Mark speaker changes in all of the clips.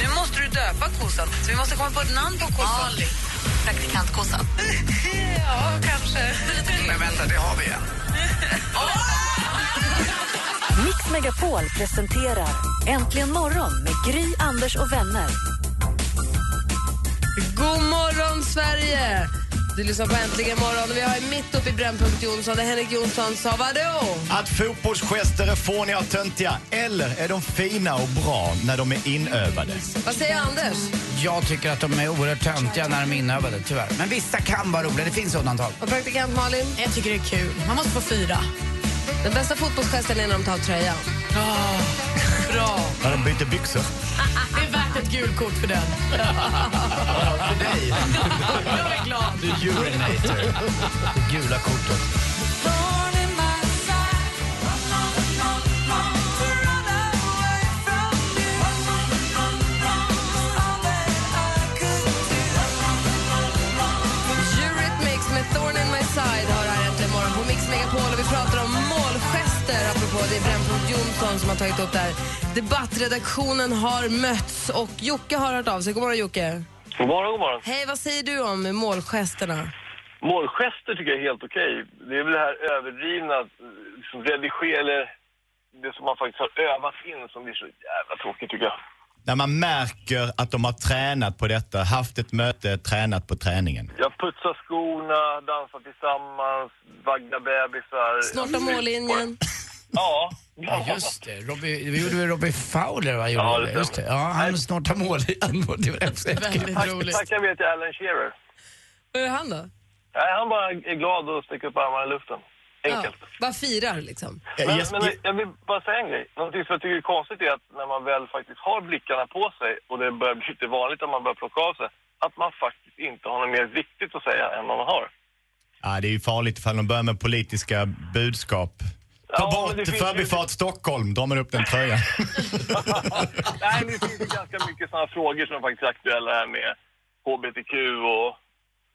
Speaker 1: Nu måste du döpa kossan, så vi måste komma på ett namn på kossan. Ali.
Speaker 2: Praktikantkossan.
Speaker 1: Ja, kanske.
Speaker 3: Men vänta, det har vi igen.
Speaker 2: Mix Megapol presenterar Äntligen morgon med Gry, Anders och vänner.
Speaker 4: God morgon, Sverige! Du lyssnar på Äntligen morgon. Vi har mitt uppe i Brännpunkt Jonsson där Henrik Jonsson sa vadå?
Speaker 5: Att fotbollsgester är fåniga och töntiga eller är de fina och bra när de är inövade?
Speaker 4: Vad säger Anders?
Speaker 3: Jag tycker att de är oerhört töntiga när de är inövade, tyvärr. Men vissa kan vara roliga, det finns undantag.
Speaker 4: Och praktikant Malin?
Speaker 6: Jag tycker det är kul. Man måste få fyra.
Speaker 4: Den bästa fotbollsgesten är när de tar av tröjan.
Speaker 6: Bra.
Speaker 5: När de byter byxor?
Speaker 6: Det är värt ett gult kort för den.
Speaker 3: För dig,
Speaker 6: Jag är glad.
Speaker 3: du urinator. Det gula kortet.
Speaker 4: Eurythmics med Thorn in my side har här äntligen morgon på Mix Megapol och vi pratar om målgester apropå det är Brännpunkt Jonsson som har tagit upp det här. Debattredaktionen har mötts och Jocke har hört av sig. God morgon Jocke.
Speaker 7: God morgon, god morgon.
Speaker 4: Hej, vad säger du om målgesterna?
Speaker 7: Målgester tycker jag är helt okej. Det är väl det här överdrivna, eh, liksom redigera, eller det som man faktiskt har övat in som blir så jävla tråkigt tycker jag.
Speaker 5: När man märker att de har tränat på detta, haft ett möte, tränat på träningen.
Speaker 7: Jag putsar skorna, dansar tillsammans, vaggar bebisar.
Speaker 4: Snorta mållinjen.
Speaker 7: Ja.
Speaker 3: Ja, just det. Robbie, det gjorde väl Robbie Fowler, va? Gjorde
Speaker 7: Ja,
Speaker 3: det
Speaker 7: det
Speaker 3: just det.
Speaker 7: stämmer.
Speaker 3: Ja, han snortar mål i mot FC.
Speaker 6: Väldigt roligt.
Speaker 7: Tackar vi till Alan Shearer.
Speaker 4: Vad gör han då?
Speaker 7: Nej, han bara är glad och sticker upp armarna i luften. Enkelt.
Speaker 4: Ja, bara firar liksom.
Speaker 5: Eh,
Speaker 7: Men,
Speaker 5: Jes-
Speaker 7: men jag vill bara säga en grej. Någonting som jag tycker är konstigt är att när man väl faktiskt har blickarna på sig och det börjar bli lite vanligt att man börjar plocka av sig, att man faktiskt inte har något mer viktigt att säga än vad man har.
Speaker 5: Ja, det är ju farligt ifall de börjar med politiska budskap. Ta
Speaker 7: Ja, men det
Speaker 5: bort
Speaker 7: finns
Speaker 5: Förbifart Stockholm, drar man upp den tröjan.
Speaker 7: Nej, men det finns ju ganska mycket sådana frågor som faktiskt är aktuella här med HBTQ och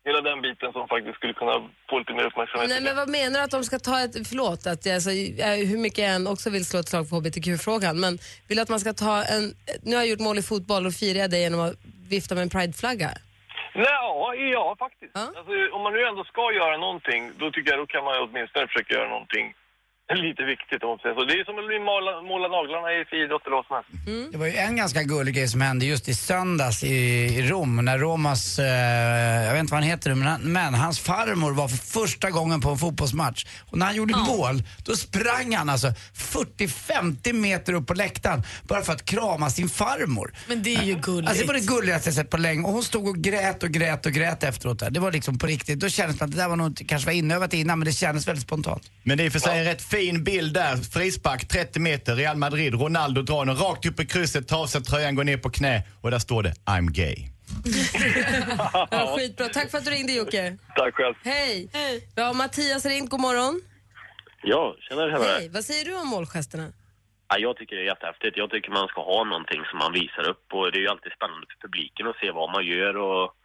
Speaker 7: hela den biten som faktiskt skulle kunna få lite mer uppmärksamhet.
Speaker 4: Nej, men vad menar du att de ska ta ett... Förlåt, att jag, alltså, jag- hur mycket jag än också vill slå ett slag på hbtq-frågan, men vill att man ska ta en... Nu har jag gjort mål i fotboll och firar jag det genom att vifta med en prideflagga.
Speaker 7: Nej, ja, ja, faktiskt.
Speaker 4: Ja.
Speaker 7: Alltså, om man nu ändå ska göra någonting, då tycker jag då kan man ju åtminstone försöka göra någonting lite viktigt om man säger så. Det är som att måla, måla naglarna i friidrott eller vad som helst.
Speaker 3: Det var ju en ganska gullig grej som hände just i söndags i, i Rom när Romas, eh, jag vet inte vad han heter nu, men, han- men hans farmor var för första gången på en fotbollsmatch. Och när han gjorde mål, då sprang han alltså 40-50 meter upp på läktaren bara för att krama sin farmor.
Speaker 6: Men det är ju gulligt.
Speaker 3: Alltså det var det gulligaste jag sett på länge. Och hon stod och grät och grät och grät efteråt där. Det var liksom på riktigt. Då kändes det att det där var nog inte, kanske var inövat innan men det kändes väldigt spontant.
Speaker 5: Men det är i och för sig en rätt fin bild där. Frispark, 30 meter, Real Madrid. Ronaldo drar den rakt upp i krysset, tar av sig tröjan, går ner på knä och där står det I'm gay.
Speaker 4: Ja. Skitbra. Tack för att du ringde, Jocke.
Speaker 7: Tack själv.
Speaker 4: Hej! Hej. Ja, Mattias har ringt. God morgon.
Speaker 7: Ja, tjenare
Speaker 4: Hej. Vad säger du om målgesterna?
Speaker 7: Ja, jag tycker det är jättehäftigt. Jag tycker man ska ha någonting som man visar upp och det är ju alltid spännande för publiken att se vad man gör och...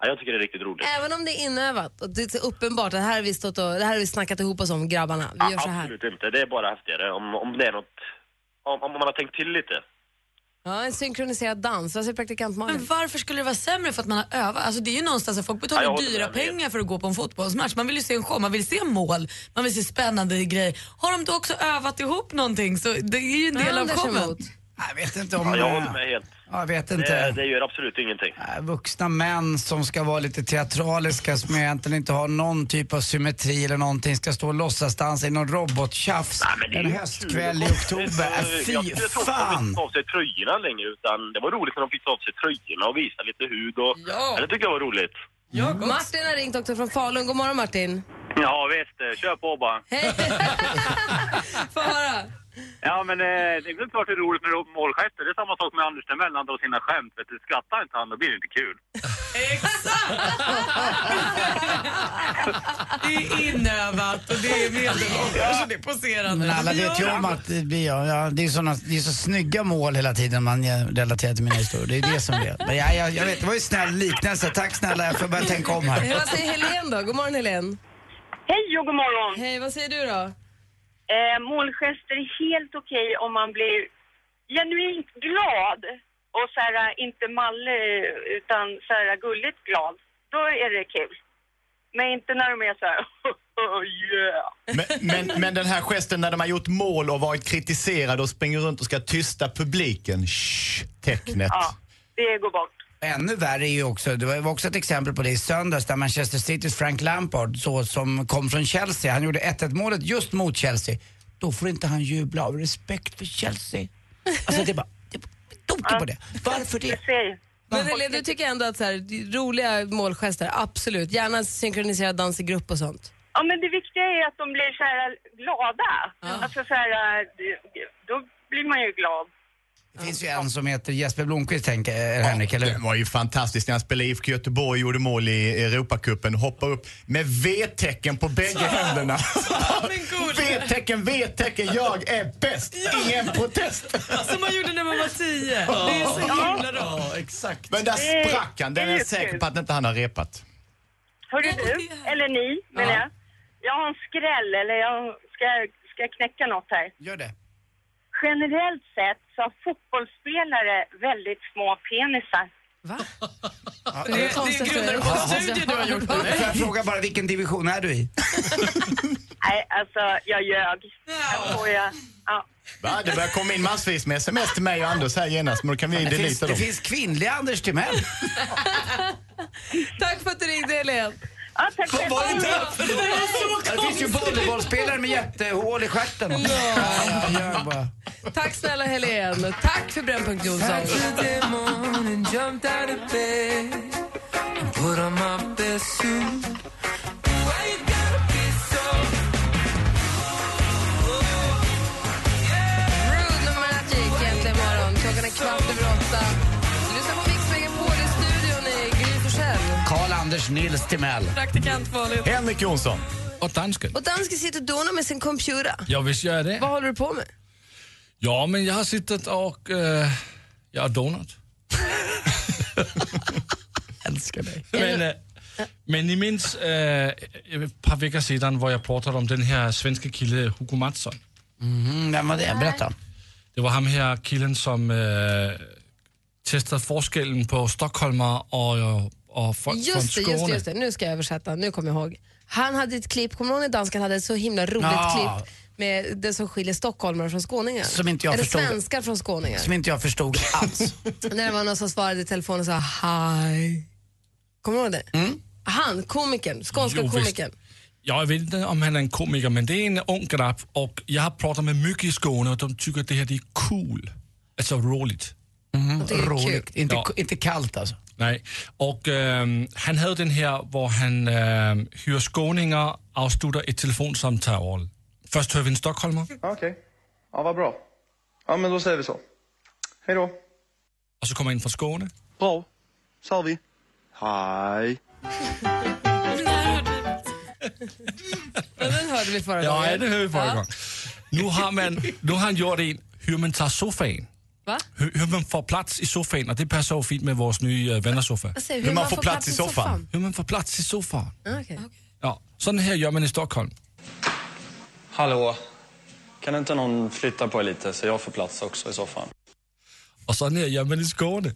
Speaker 7: Ja, jag tycker det är riktigt roligt.
Speaker 4: Även om det är inövat och det är så uppenbart att här har vi, stått och, det här har vi snackat ihop oss om, grabbarna. Vi gör
Speaker 7: Ja,
Speaker 4: så här.
Speaker 7: Absolut inte. Det är bara häftigare om, om det är något... Om, om man har tänkt till lite.
Speaker 4: Ja, en synkroniserad dans. Vad säger praktikant
Speaker 6: Men
Speaker 4: Malin?
Speaker 6: varför skulle det vara sämre för att man har övat? Alltså det är ju någonstans att folk betalar
Speaker 7: Ja, jag håller
Speaker 6: dyra
Speaker 7: med dig.
Speaker 6: pengar för att gå på en fotbollsmatch. Man vill ju se en show, man vill se mål, man vill se spännande grejer. Har de då också övat ihop någonting så det är ju en del av
Speaker 4: Anders
Speaker 6: showen.
Speaker 4: emot.
Speaker 3: Jag vet inte om...
Speaker 7: Ja, jag
Speaker 3: eh,
Speaker 7: håller med helt.
Speaker 3: Ja, jag vet inte.
Speaker 7: Det, det gör absolut ingenting.
Speaker 3: Äh, vuxna män som ska vara lite teatraliska, som egentligen inte har någon typ av symmetri eller någonting, ska stå och låtsasdansa i någon robottjafs
Speaker 7: men det är
Speaker 3: en
Speaker 7: ju kul. Alltså,
Speaker 3: höstkväll i oktober. Äh,
Speaker 7: Jag
Speaker 3: fy
Speaker 7: tycker det är tråkigt att de
Speaker 3: fan!
Speaker 7: inte tar av sig tröjorna längre utan det var roligt när de fick ta av sig tröjorna och visa lite hud och... Ja. Det tycker jag var roligt.
Speaker 4: Martin har ringt också från Falun. God morgon, Martin.
Speaker 7: Ja, visst. Kör på bara.
Speaker 4: Hej! Få höra.
Speaker 7: Ja, men eh, det är väl klart det är roligt med målgester. Det är samma sak med Anders Timell när han drar sina skämt. Vet du, skrattar inte han, då blir det inte kul.
Speaker 6: Det är inövat och det är medelålders och det är poserande.
Speaker 3: Men alla vet ju om att det blir jag. Ja, det, är såna, det är så snygga mål hela tiden man eh, relaterar till mina historier. Det är det som det är. Men jag, jag, jag vet, det var ju snäll liknelse. Tack snälla, jag får börja tänka om här.
Speaker 4: Vad säger Helene då? God morgon Helene.
Speaker 8: Hej och god morgon!
Speaker 4: Hej, vad säger du då?
Speaker 8: Eh, målgester är helt okej om man blir genuint glad och så här, eh, inte mallig utan så här, eh, gulligt glad. Då är det kul. Men inte när de är så här oh, yeah.
Speaker 5: Men, men, men den här gesten när de har gjort mål och varit kritiserade och springer runt och ska tysta publiken. Shh-tecknet.
Speaker 8: Ja, det går bort.
Speaker 3: Ännu värre är ju också, det var också ett exempel på det i söndags där Manchester Citys Frank Lampard, så, som kom från Chelsea, han gjorde 1-1 målet just mot Chelsea. Då får inte han jubla av respekt för Chelsea. Alltså det är bara, det är bara tokigt på det. Varför det?
Speaker 8: Jag ser ju.
Speaker 4: Men Helene, du tycker ändå att så här, roliga målgester, absolut. Gärna synkroniserad dans i grupp och sånt.
Speaker 8: Ja, men det viktiga är att de blir så här eh, glada. Alltså så här, eh, då blir man ju glad.
Speaker 3: Det finns ju en som heter Jesper Blomqvist, tänker eh, Henrik, eller
Speaker 5: Det
Speaker 3: hur?
Speaker 5: var ju fantastiskt när han spelade IFK Göteborg och gjorde mål i Europacupen. Hoppade upp med V-tecken på bägge händerna.
Speaker 6: men god.
Speaker 5: V-tecken, V-tecken, jag är bäst! Ingen protest!
Speaker 6: Som man gjorde när man var tio. Det är så himla bra.
Speaker 5: Exakt. Men där sprack han. Den är jag säker på att inte han har repat.
Speaker 8: Hörru
Speaker 6: Ja,
Speaker 8: du,
Speaker 6: det är-
Speaker 8: eller ni, menar jag. Jag har en skräll, eller jag ska, ska jag knäcka något här.
Speaker 3: Gör det.
Speaker 8: Generellt sett så har fotbollsspelare väldigt små penisar.
Speaker 6: Det, det är grundare på en studie du har gjort.
Speaker 3: Får jag fråga bara, vilken division är du i?
Speaker 8: Nej, alltså jag ljög. Jag skojar. Ja.
Speaker 5: Va? Det börjar komma in massvis med sms till mig och Anders här genast, men då kan vi
Speaker 3: Det finns,
Speaker 5: delita
Speaker 3: det
Speaker 5: dem.
Speaker 3: finns kvinnliga Anders Timell.
Speaker 4: Tack för att du ringde Helene.
Speaker 8: Ja, tack själv.
Speaker 3: Det finns ju volleybollspelare med jättehål i stjärten. Ja, ja, jag bara-
Speaker 4: Tack snälla Helene. Tack för Brännpunkt Jonsson. Rune Magic äntligen morgon. Klockan är kvart över åtta. Du lyssnar på Mix Megapol i studion i Gry Forssell.
Speaker 3: Karl-Anders Nils Timell.
Speaker 6: Praktikant Malin.
Speaker 5: Henrik Jonsson.
Speaker 9: Och dansken.
Speaker 4: Och dansken sitter och donar med sin computer.
Speaker 9: Ja, visst gör jag det.
Speaker 4: Vad håller du på med?
Speaker 9: Ja, men jag har suttit och... eh, jag har donat.
Speaker 3: Älskar dig.
Speaker 9: Men, eh, men ni minns eh, ett par veckor sedan var jag pratade om den här svenska killen Hugo Mattsson.
Speaker 3: Mm, vem var det? Berätta.
Speaker 9: Det var ham her killen, som eh, testade forskellen på stockholmare och, och folk från
Speaker 4: Just det,
Speaker 9: Skåne.
Speaker 4: just det, just det. Nu ska jag översätta. Nu kommer jag ihåg. Han hade ett klipp, kommer du ihåg när danskan hade ett så himla roligt
Speaker 3: Ja.
Speaker 4: klipp med det som skiljer stockholmare från skåningar?
Speaker 3: Som inte jag
Speaker 4: Eller
Speaker 3: förstod.
Speaker 4: svenskar från skåningar.
Speaker 3: Som inte jag förstod alls.
Speaker 4: När det var någon som svarade i telefon och sa hi. Kommer du ihåg det? Han, komikern, skånska
Speaker 9: Jo, visst.
Speaker 4: komikern.
Speaker 9: Jag vet inte om han är en komiker, men det är en ung grabb och jag har pratat med mycket i Skåne och de tycker att det här är cool. Alltså roligt.
Speaker 4: Det är kul.
Speaker 3: Roligt. Inte,
Speaker 9: Ja.
Speaker 3: inte kallt alltså.
Speaker 9: Nej. Och ehm, han hade den här hvor han ehm, hyr skåningar, avslutter ett telefonsamtal. Först hör vi en stockholmare
Speaker 7: Okej. Ja, vad bra. Ja, men då säger vi så. Hej då.
Speaker 9: och så kommer en från Skåne.
Speaker 7: Bra. Så har vi. Hej.
Speaker 4: Men den hörde vi förra
Speaker 9: Ja,
Speaker 4: gången.
Speaker 9: det hör vi förra gången. Nu har, man, nu har han gjort en hur man tar soffan.
Speaker 4: Va?
Speaker 9: Hur, hur man får plats i soffan och det passar ju fint med vår nya eh, vännersoffa.
Speaker 4: Alltså, hur,
Speaker 5: man får plats i soffan.
Speaker 9: Hur man får plats i soffan.
Speaker 4: Ah, okej.
Speaker 9: Ja, sådan här gör man i Stockholm.
Speaker 7: Hallå. Kan inte någon flytta på er lite så jag får plats också i soffan?
Speaker 9: Och sådan här gör man i Skåne.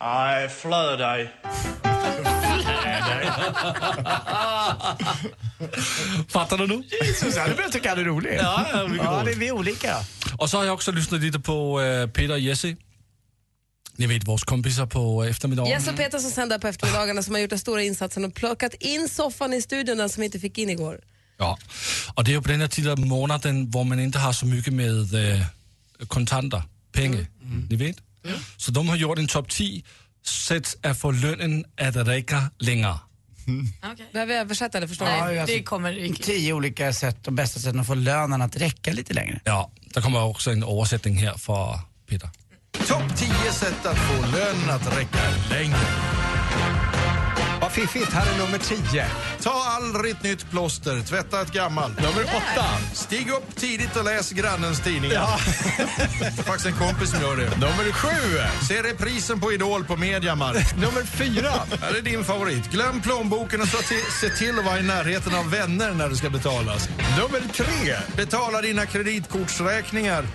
Speaker 7: Nej, flö dig.
Speaker 9: Fattar du nu?
Speaker 3: Jesus, det börjar tycka han är rolig. Ja, ja det är vi olika.
Speaker 9: Och så har jag också lyssnat lite på eh, Peter och Jesse. Ni vet, våra kompisar på eh, eftermiddagen.
Speaker 4: Jess och Peter som sänder på eftermiddagarna som har gjort den stora insatsen och plockat in soffan i studion, den som vi inte fick in igår.
Speaker 9: Ja. Och det är ju på den här tiden av månaden där man inte har så mycket med eh, kontanter, pengar. Ni vet? Så de har gjort en topp 10 sätt att få lönen att räcka längre.
Speaker 4: Behöver jag översätta eller förstår
Speaker 3: Ja,
Speaker 4: ni?
Speaker 3: alltså, Tio olika sätt och bästa sätten att få lönen att räcka lite längre.
Speaker 9: Ja, det kommer också en översättning här för Peter.
Speaker 10: Topp 10 sätt att få lönen att räcka längre. Vad fiffigt, här är nummer 10. Ta aldrig nytt plåster, tvätta ett gammalt. Nummer 8. Stig upp tidigt och läs grannens tidningar. det är faktiskt en kompis som gör det. Nummer 7. Se reprisen på Idol på Mediamarkt. Nummer 4. Här är din favorit. Glöm plånboken och ta till, se till att vara i närheten av vänner när det ska betalas. Nummer 3. Betala dina kreditkortsräkningar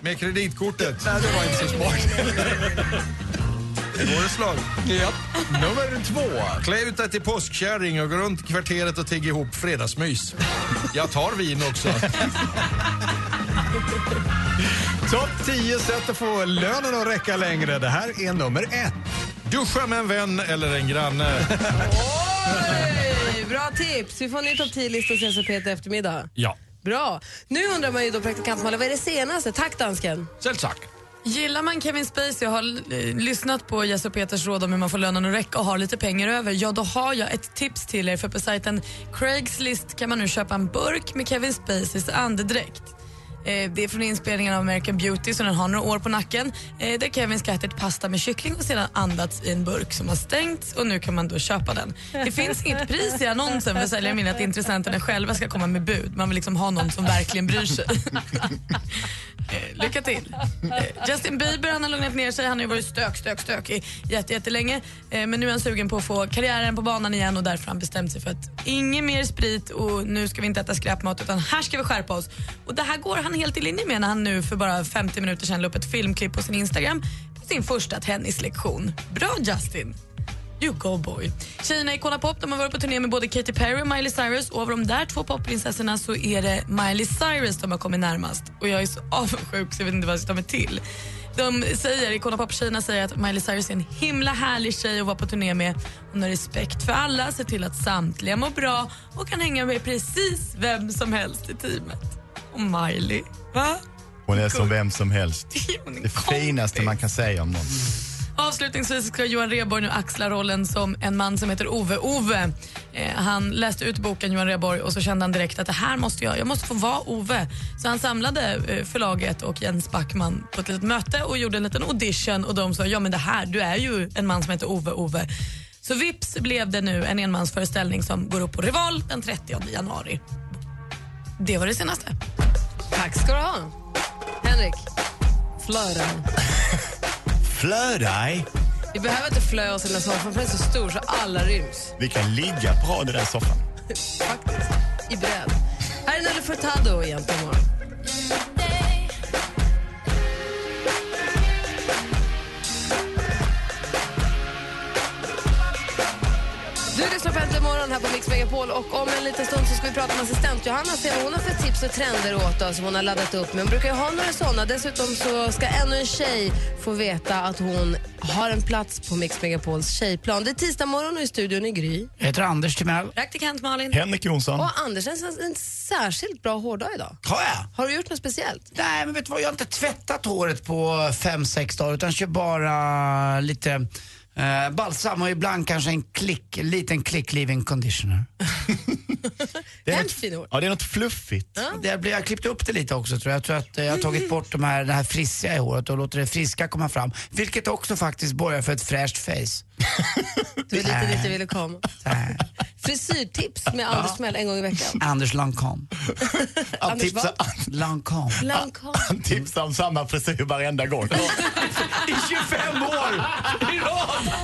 Speaker 10: med kreditkortet. Nej, det var inte så smart. Det går ett slag. Ja. Nummer två. Klä ut dig till påskkärring och gå runt i kvarteret och tigg ihop fredagsmys. Jag tar vin också.
Speaker 11: Topp 10 sätt att få lönen att räcka längre. Det här är nummer ett.
Speaker 10: Duscha med en vän eller en granne.
Speaker 4: Oj, Bra tips! Vi får en ny topp 10-lista sen så Peter i eftermiddag.
Speaker 9: Ja.
Speaker 4: Bra! Nu undrar man ju då praktikant Malin, vad är det senaste? Tack dansken!
Speaker 9: Självklart.
Speaker 6: Gillar man Kevin Spacey och har eh, lyssnat på Jess och Peters råd om hur man får lönen att räcka och har lite pengar över, ja då har jag ett tips till er för på sajten Craigslist kan man nu köpa en burk med Kevin Spaceys andedräkt. Eh, Det är från inspelningen av American Beauty så den har några år på nacken. eh, Där Kevin ska ha ätit pasta med kyckling och sedan andats i en burk som har stängts och nu kan man då köpa den. Det finns inget pris i annonsen för säljaren vill att intressenterna själva ska komma med bud. Man vill liksom ha någon som verkligen bryr sig. Eh, Lycka till. Eh, Justin Bieber han har lugnat ner sig. Han har ju varit stök, stök, stök i jätte, jättelänge. Eh, Men nu är han sugen på att få karriären på banan igen och därför har han bestämt sig för att ingen mer sprit och nu ska vi inte äta skräpmat utan här ska vi skärpa oss. Och det här går han helt i linje med när han nu för bara 50 minuter sedan la upp ett filmklipp på sin Instagram på sin första tennislektion. Bra Justin! You go boy. Tjejerna i Kolla Pop de har varit på turné med både Katy Perry och Miley Cyrus. Och av de där två popprinsessorna så är det Miley Cyrus de har kommit närmast. Och jag är så avundsjuk så jag vet inte vad jag ska ta mig till. De säger, i Kolla Pop-tjejerna säger att Miley Cyrus är en himla härlig tjej att vara på turné med. Hon har respekt för alla, ser till att samtliga mår bra och kan hänga med precis vem som helst i teamet. Och Miley, va?
Speaker 5: Hon är som vem som helst.
Speaker 6: Hon är
Speaker 5: Det finaste man kan säga om någon.
Speaker 6: Avslutningsvis ska Johan Rheborg nu axla rollen som en man som heter Ove. Ove, eh, han läste ut boken Johan Rheborg och så kände han direkt att det här måste jag, jag måste få vara Ove. Så han samlade eh, förlaget och Jens Backman på ett litet möte och gjorde en liten audition och de sa ja men det här, du är ju en man som heter Ove, Ove. Så vips blev det nu en enmansföreställning som går upp på Rival den 30 januari. Det var det senaste.
Speaker 4: Tack ska du ha. Henrik. Flöden.
Speaker 5: Flö dig.
Speaker 4: Vi behöver inte flö oss i den här soffan för den är så stor så alla ryms.
Speaker 5: Vi kan ligga bra i den där soffan.
Speaker 4: Faktiskt. I bröd. Här är Nelly Furtado igen på morgon. Du lyssnar på Äntligen morgon här på Mix Megapol och om en liten stund så ska vi prata med assistent Johanna och se vad hon har för tips och trender åt oss som hon har laddat upp med. Hon brukar ju ha några sådana. Dessutom så ska ännu en tjej få veta att hon har en plats på Mix Megapols tjejplan. Det är tisdag morgon och i studion är Gry.
Speaker 3: Jag heter Anders Timell.
Speaker 4: Praktikant Malin.
Speaker 5: Henrik Jonsson.
Speaker 4: Och Anders, en, en särskilt bra hårdag idag.
Speaker 3: Har jag?
Speaker 4: Har du gjort något speciellt?
Speaker 3: Nej, men vet du vad? Jag har inte tvättat håret på fem sex dagar utan kör bara lite eh, balsam och ibland kanske en klick, liten klick leave-in conditioner.
Speaker 4: det är Hemskt fint hår.
Speaker 5: Ja, det är något fluffigt.
Speaker 3: Det blir, jag har klippt upp det lite också tror jag. Jag tror att eh, jag har tagit bort de här, det här frissiga i håret och låter det friska komma fram. Vilket också faktiskt borgar för ett fräscht face. Eh,
Speaker 4: Du är lite dit du ville komma. Frisyrtips med Anders Timell en gång i veckan.
Speaker 3: Anders Lancome.
Speaker 5: Han
Speaker 4: Anders
Speaker 5: tipsar,
Speaker 3: Lancome.
Speaker 4: Lancome.
Speaker 5: han tipsar om samma frisyr varenda gång.
Speaker 3: I 25 år i rad!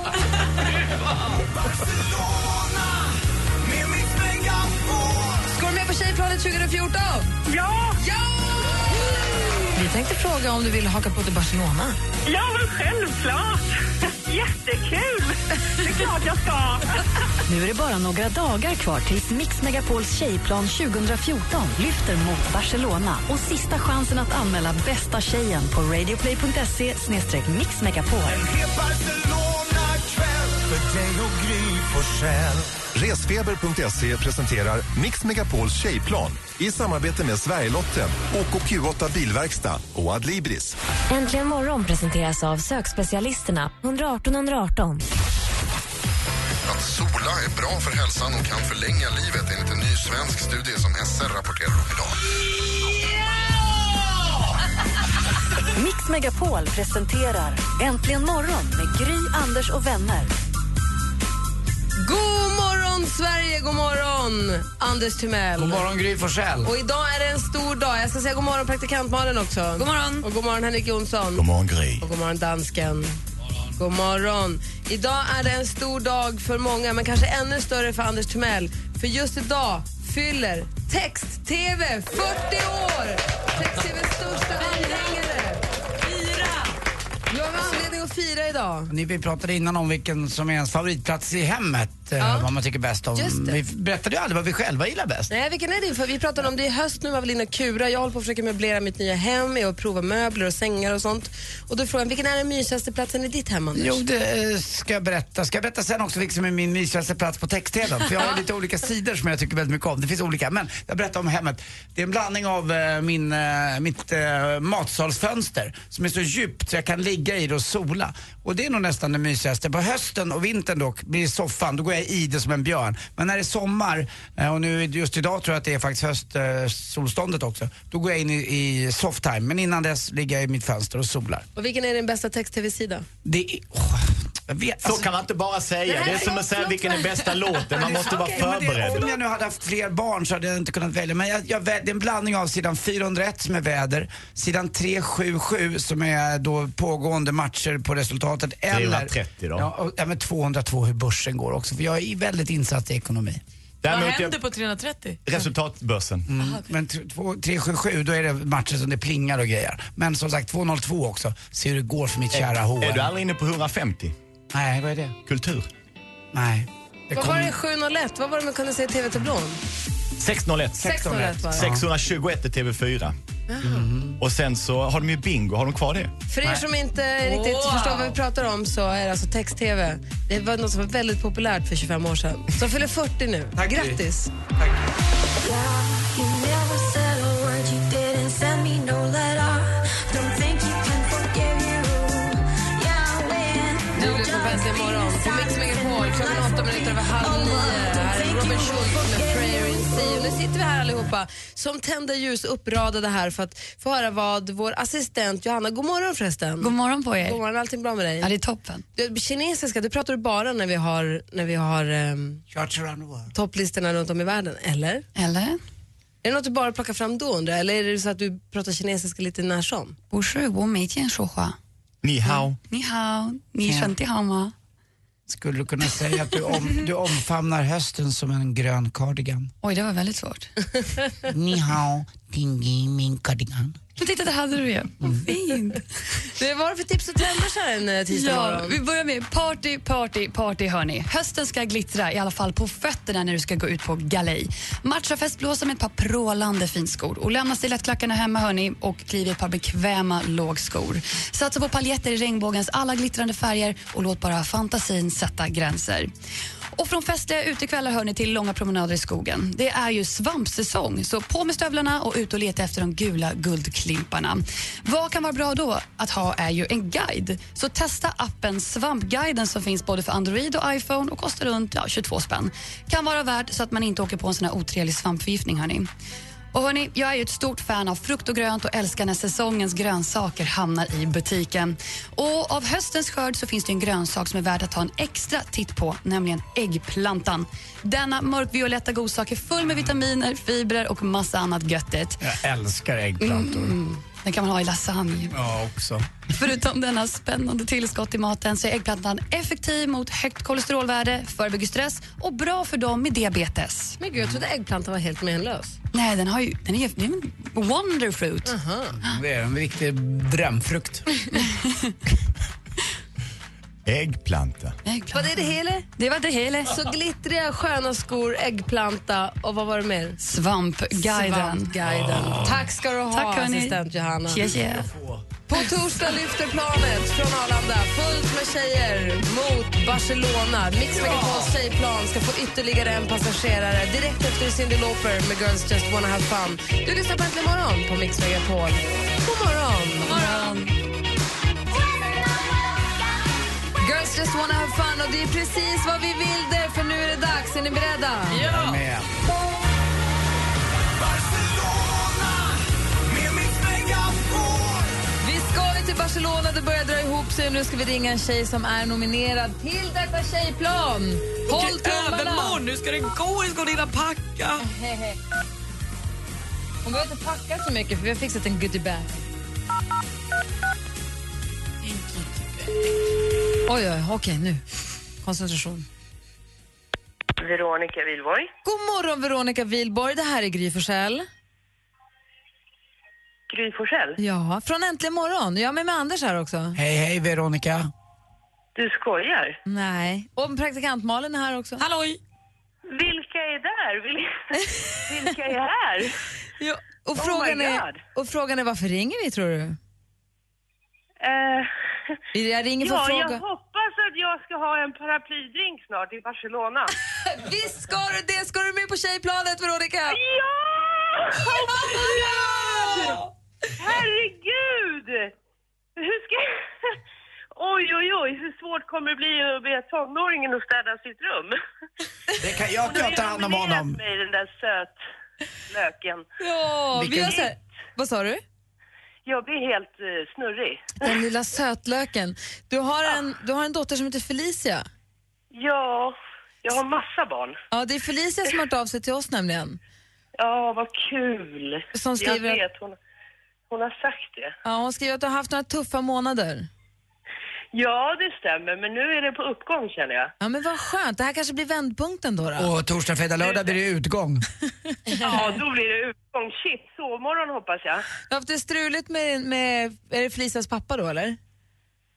Speaker 4: Ska du med på Tjejplanet 2014? Ja! ja! Vi tänkte fråga om du vill haka på till Barcelona.
Speaker 8: Ja, men självklart! Jättekul! Det är klart jag ska!
Speaker 2: Nu är det bara några dagar kvar tills Mix Megapols tjejplan 2014 lyfter mot Barcelona och sista chansen att anmäla bästa tjejen på radioplay.se mixmegapol.
Speaker 11: Resfeber.se presenterar Mix Megapols tjejplan i samarbete med Sverigelotten, OKQ8 Bilverkstad och Adlibris.
Speaker 12: Äntligen morgon presenteras av sökspecialisterna 118 118. att sola är bra för hälsan och kan förlänga livet enligt en ny svensk studie som SR rapporterar om idag.
Speaker 2: Mix Megapol presenterar Äntligen morgon med Gry, Anders och vänner.
Speaker 4: God morgon, Sverige! God morgon, Anders Timell.
Speaker 3: God morgon, Gry Forssell.
Speaker 4: Och idag är det en stor dag. Jag ska säga god morgon, praktikant Malin också. God morgon. Och god morgon, Henrik Jonsson. God
Speaker 5: morgon, Gry.
Speaker 4: Och god morgon, dansken. God morgon. Idag är det en stor dag för många, men kanske ännu större för Anders Timell. För just idag fyller Text-TV 40 år! Text-TVs största anhängare. Fira! Jag har anledning att fira idag.
Speaker 3: Ni, vi pratade innan om vilken som är ens favoritplats i hemmet, eh, vad man tycker bäst om.
Speaker 4: Just det.
Speaker 3: Vi berättade ju aldrig vad vi själva gillar bäst.
Speaker 4: Nej, vilken är din? För vi pratade om det i höst nu, var väl inne och kura. Jag håller på att försöka möblera mitt nya hem, jag provar möbler och sängar och sånt. Och då frågade jag, vilken är den mysigaste platsen i ditt hem, Anders?
Speaker 3: Jo, det eh, ska jag berätta. Ska jag berätta sen också vilken som är min mysigaste plats på text-tvn? För jag har ju lite olika sidor som jag tycker väldigt mycket om. Det finns olika, men jag berättar om hemmet. Det är en blandning av eh, min, eh, mitt eh, matsalsfönster som är så djupt så jag kan ligga i det och sola. Och det är nog nästan det mysigaste. På hösten och vintern dock blir det soffan, då går jag i det som en björn. Men när det är sommar, eh, och nu just idag tror jag att det är faktiskt höstsolståndet också, då går jag in i, i softtime. Men innan dess ligger jag i mitt fönster och solar.
Speaker 4: Och vilken är din bästa text-tv-sida?
Speaker 3: Det är... åh, jag vet,
Speaker 5: Så kan man inte bara säga.
Speaker 4: Nej,
Speaker 5: det är som att säga vilken är bästa låten. Man måste vara
Speaker 3: Okej, men det- Om
Speaker 5: förberedd.
Speaker 3: jag nu hade haft fler barn så hade jag inte kunnat välja. Men jag, jag, vä- det är en blandning av sidan 401 som är väder, sidan 377 som är då pågående matcher på resultatet. eller-
Speaker 5: 330 då.
Speaker 3: Ja, och, ja, men 202 hur börsen går också. För jag är väldigt insatt i ekonomi.
Speaker 6: Vad händer på 330?
Speaker 5: Resultatbörsen.
Speaker 3: Mm. Men t- två- 377 då är det matcher som det plingar och grejer. Men som sagt 202 också. Se hur det går för mitt kära H&M.
Speaker 5: Är du aldrig inne på 150?
Speaker 3: Nej, vad är det?
Speaker 5: Kultur.
Speaker 3: Nej.
Speaker 4: Vad var det 701? Vad var det man kunde se i TV-tablån?
Speaker 5: 601.
Speaker 4: 601 var det.
Speaker 5: 621 är TV4. Och sen så har de ju bingo. Har de kvar det?
Speaker 4: För er som inte riktigt
Speaker 6: Wow.
Speaker 4: förstår vad vi pratar om så är det alltså text-tv. Det var något som var väldigt populärt för 25 år sedan. Så fyller 40 nu. Grattis! Du lyssnar på Äntligen morgon på Mix Megapol. Klockan är åtta minuter över halv nio. Här är Robin Schultz med Prayer in Sea. Och nu sitter vi här allihopa som tända ljus uppradade här för att få höra vad vår assistent Johanna, god morgon förresten.
Speaker 6: God morgon på er.
Speaker 4: God morgon, allting bra med dig?
Speaker 6: Ja, det är toppen.
Speaker 4: Du, kinesiska, det pratar du bara när vi har, när vi har ehm, topplistorna runt om i världen, eller?
Speaker 6: Eller?
Speaker 4: Är det något du bara plockar fram då undrar jag? eller är det så att du pratar kinesiska lite när som?
Speaker 13: 不是，我每天说话。
Speaker 5: Ni hao.
Speaker 13: 你好，你
Speaker 3: Ja.
Speaker 13: 身体好吗？
Speaker 3: Skulle du kunna säga att du, om, du omfamnar hösten som en grön cardigan?
Speaker 13: Oj, det var väldigt svårt.
Speaker 3: Ni hao, dingi min cardigan.
Speaker 13: Men titta, det hade du ju. Vad fint.
Speaker 4: Det var för tips och trender så här en eh, tisdag
Speaker 13: Ja,
Speaker 4: morgon?
Speaker 13: vi börjar med party, party, party hörni. Hösten ska glittra, i alla fall på fötterna när du ska gå ut på galej. Matcha festblåsa med ett par prålande finskor och lämna stilettklackarna hemma hörni och kliv i ett par bekväma lågskor. Satsa på paljetter i regnbågens alla glittrande färger och låt bara fantasin sätta gränser. Och från festliga utekvällar hör ni till långa promenader i skogen. Det är ju svampsäsong, så på med stövlarna och ut och leta efter de gula guldklimparna. Vad kan vara bra då att ha är ju en guide. Så testa appen Svampguiden som finns både för Android och iPhone och kostar runt ja, 22 spänn. Kan vara värt så att man inte åker på en sån här otrevlig svampförgiftning hörni. Och hörni, jag är ju ett stort fan av frukt och grönt och älskar när säsongens grönsaker hamnar i butiken. Och av höstens skörd så finns det en grönsak som är värd att ta en extra titt på, nämligen äggplantan. Denna mörkvioletta godsak är full med vitaminer, fibrer och massa annat göttigt.
Speaker 3: Jag älskar äggplantor.
Speaker 13: Mm, den kan man ha i lasagne.
Speaker 3: Ja, också.
Speaker 13: Förutom denna spännande tillskott i maten så är äggplantan effektiv mot högt kolesterolvärde, förebygger stress och bra för dem med diabetes.
Speaker 4: Men gud, jag trodde äggplantan var helt menlös.
Speaker 13: Nej, den, har ju, den är ju en wonderfruit.
Speaker 3: Det är en riktig drömfrukt.
Speaker 5: Äggplanta.
Speaker 4: Vad är det hela?
Speaker 13: Det var det hela.
Speaker 4: Så glittriga, sköna skor, äggplanta och vad var det mer?
Speaker 13: Svampguiden.
Speaker 4: Svampguiden. Tack ska du ha,
Speaker 13: Tack, hörni.
Speaker 4: assistent Johanna.
Speaker 13: Tje, tje.
Speaker 4: På torsdag lyfter planet från Arlanda fullt med tjejer mot Barcelona. Mix Megapols tjejplan ska få ytterligare en passagerare direkt efter Cyndi Lauper med Girls Just Wanna Have Fun. Du lyssnar på Äntligen Morgon på Mix Megapol. God morgon! God morgon! Girls just wanna have fun och det är precis vad vi vill det, för nu är det dags. Är ni beredda?
Speaker 3: Jag är med.
Speaker 4: Vi ska ju till Barcelona, det börjar dra ihop sig och nu ska vi ringa en tjej som är nominerad till detta tjejplan. Håll tummarna!
Speaker 14: övermorgon, nu ska det gå, nu ska du hinna packa.
Speaker 4: Hon behöver inte packa så mycket för vi har fixat en goodiebag. Oj, oj, okej nu. Koncentration.
Speaker 8: Veronica Wilborg.
Speaker 4: God morgon Veronica Wilborg, det här är Gry Forssell.
Speaker 8: Gry Forssell.
Speaker 4: Ja, från Äntligen morgon. Jag är med, med Anders här också.
Speaker 3: Hej, hej Veronica.
Speaker 8: Du skojar?
Speaker 4: Nej. Och praktikant Malin är här också. Halloj!
Speaker 8: Vilka är där? Vil- Vilka är här?
Speaker 4: Ja, Och
Speaker 8: Oh
Speaker 4: frågan,
Speaker 8: my God.
Speaker 4: är, och frågan är varför ringer vi tror du?
Speaker 8: Eh,
Speaker 4: Jag ringer för
Speaker 8: ja,
Speaker 4: att fråga.
Speaker 8: jag hoppas att jag ska ha en paraplydrink snart i Barcelona.
Speaker 4: Visst ska du det! Ska du med på tjejplanet Veronica?
Speaker 8: Ja! Oh my God! Herregud! Hur ska Oj, oj, oj, hur svårt kommer det bli att be tonåringen att städa sitt rum?
Speaker 3: Det kan, jag kan ta hand om honom.
Speaker 8: mig den där söt löken.
Speaker 4: Ja, vi
Speaker 8: Vilken-
Speaker 4: gör så här. Vad sa du?
Speaker 8: Jag blir helt eh, snurrig.
Speaker 4: Den lilla sötlöken. Du har, en, du har en dotter som heter Felicia.
Speaker 8: Ja, jag har massa barn.
Speaker 4: Ja, det är Felicia som har hört av sig till oss nämligen.
Speaker 8: Ja, vad kul!
Speaker 4: Som skriver
Speaker 8: jag
Speaker 4: att-
Speaker 8: vet, hon, hon har sagt det.
Speaker 4: Ja, hon skriver att du har haft några tuffa månader.
Speaker 8: Ja, det stämmer, men nu är det på uppgång känner jag.
Speaker 4: Ja, men vad skönt. Det här kanske blir vändpunkten då. då.
Speaker 3: Och torsdag, fredag, lördag blir det utgång.
Speaker 8: Ja, då blir det utgång. Shit, sovmorgon hoppas jag.
Speaker 4: Du har haft det struligt med, med är det Felicias pappa då eller?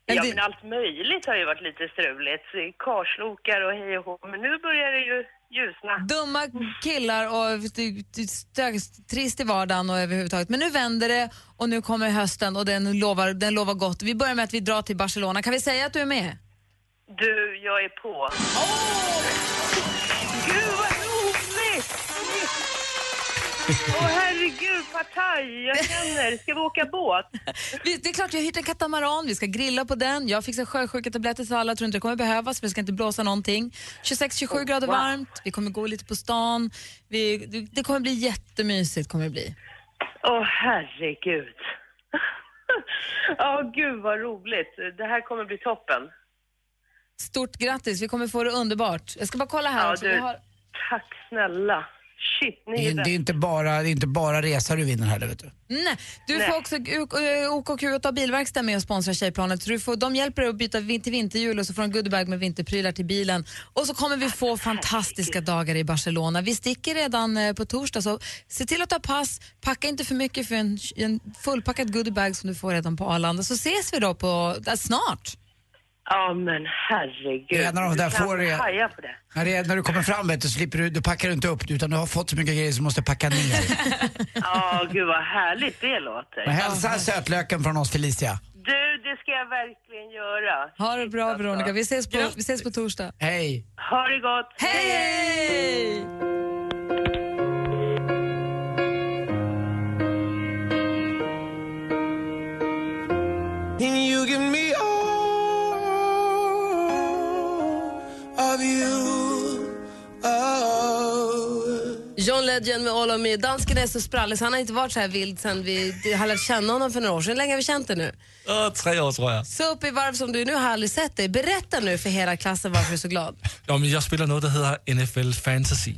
Speaker 8: Ja,
Speaker 4: det-
Speaker 8: men allt möjligt har ju varit lite struligt. Karslokar och hej och hå. Men nu börjar det ju ljusna.
Speaker 4: Dumma killar och du- du- stö- trist i vardagen och överhuvudtaget. Men nu vänder det och nu kommer hösten och den lovar, den lovar gott. Vi börjar med att vi drar till Barcelona. Kan vi säga att du är med?
Speaker 8: Du, jag är på. Åh! Gud, vad roligt! Åh, herregud, partaj! Jag känner. Ska vi åka båt?
Speaker 4: Vi, det är klart, jag har hyrt en katamaran, vi ska grilla på den. Jag fixar sjösjuketabletter till alla, jag tror inte det kommer behövas för det ska inte blåsa någonting. 26-27 grader
Speaker 8: wow.
Speaker 4: varmt, vi kommer gå lite på stan. Vi, det- det kommer bli jättemysigt. Kommer det bli.
Speaker 8: Åh, herregud. Ja, gud vad roligt. Det här kommer bli toppen.
Speaker 4: Stort grattis, vi kommer få det underbart. Jag ska bara kolla här
Speaker 8: Ja,
Speaker 4: också.
Speaker 8: du.
Speaker 4: Vi har...
Speaker 8: Tack snälla. Shit, ni
Speaker 3: Det är,
Speaker 8: är
Speaker 3: det, är
Speaker 8: bäst.
Speaker 3: inte bara, det är inte bara resa du vinner heller vet du.
Speaker 4: Nej, du får också U- eh, OKQ ta bilverkstad med och sponsra Tjejplanet. Så du får, de hjälper dig att byta vin- till vinterhjul och så får du en goodiebag med vinterprylar till bilen. Och så kommer vi få fantastiska dagar i Barcelona. Vi sticker redan eh, på torsdag så se till att ta pass, packa inte för mycket för en, en fullpackad goodiebag som du får redan på Arlanda. Så ses vi då på, äh, snart.
Speaker 8: Ja, men herregud.
Speaker 3: Det är en av de
Speaker 8: Du
Speaker 3: där
Speaker 8: kan
Speaker 3: få re-
Speaker 8: haja på det.
Speaker 3: När, det, är- när du kommer fram vet du, så slipper du, du packar du inte upp utan du har fått så mycket grejer så du måste packa ner.
Speaker 8: Ja, gud vad härligt det låter.
Speaker 3: Men hälsa sötlöken från oss Felicia.
Speaker 8: Du, det ska jag verkligen göra.
Speaker 4: Ha det bra Veronica, vi ses på, vi ses på torsdag.
Speaker 3: Hej!
Speaker 8: Ha det gott.
Speaker 4: Hej!
Speaker 15: And you give me all of you. Oh.
Speaker 4: John Legend med All of Me. Dansken är så sprallig så han har inte varit så här vild sen vi har lärt känna honom för några år sedan. Hur länge har vi känt det nu?
Speaker 9: Ö, tre år tror jag.
Speaker 4: Så upp i varv som du nu har aldrig sett dig. Berätta nu för hela klassen varför du är så glad.
Speaker 9: Ja, men jag spelar något som heter NFL Fantasy.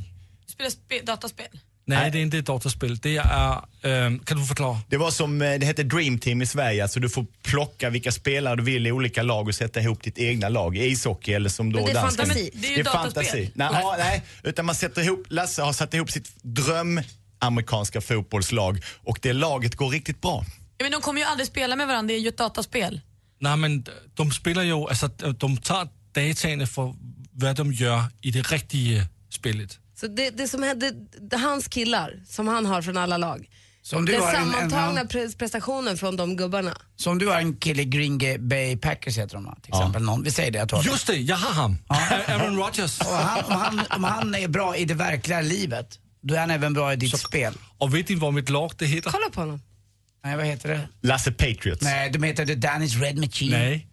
Speaker 6: Spelar spe- dataspel.
Speaker 9: Nej, det är inte ett datorspel. Det är... ehm, kan du förklara?
Speaker 5: Det var som, eh, det hette Dream Team i Sverige, alltså du får plocka vilka spelare du vill i olika lag och sätta ihop ditt egna lag i ishockey eller som då
Speaker 4: Men det är
Speaker 5: danskarna.
Speaker 4: fantasi. Men det är ju dataspel.
Speaker 5: fantasi. Nej, ja, nej, utan man sätter ihop, Lasse har satt ihop sitt dröm amerikanska fotbollslag och det laget går riktigt bra.
Speaker 6: Ja, men de kommer ju aldrig spela med varandra, det är ju ett dataspel.
Speaker 9: Nej, men de spelar ju... Alltså, de tar dataene för vad de gör i det øh, riktiga spelet.
Speaker 4: Så det, det som hände, det- hans killar som han har från alla lag.
Speaker 3: Som du
Speaker 4: Den
Speaker 3: har en- en-
Speaker 4: sammantagna pre- prestationen från de gubbarna.
Speaker 3: Som du har en kille i Green Ga- Bay Packers heter de va? Till exempel någon. Vi säger det jag tar det.
Speaker 9: Just det, jag har han. Aaron Rodgers.
Speaker 3: Och han, om, han, om han är bra i det verkliga livet, då är han även bra i ditt spel.
Speaker 9: Och vet ni vad mitt lag det heter?
Speaker 4: Kolla på honom.
Speaker 3: Nej, vad heter det?
Speaker 5: Lasse Patriots.
Speaker 3: Nej, de heter The Danish Red Machine.
Speaker 9: Nej.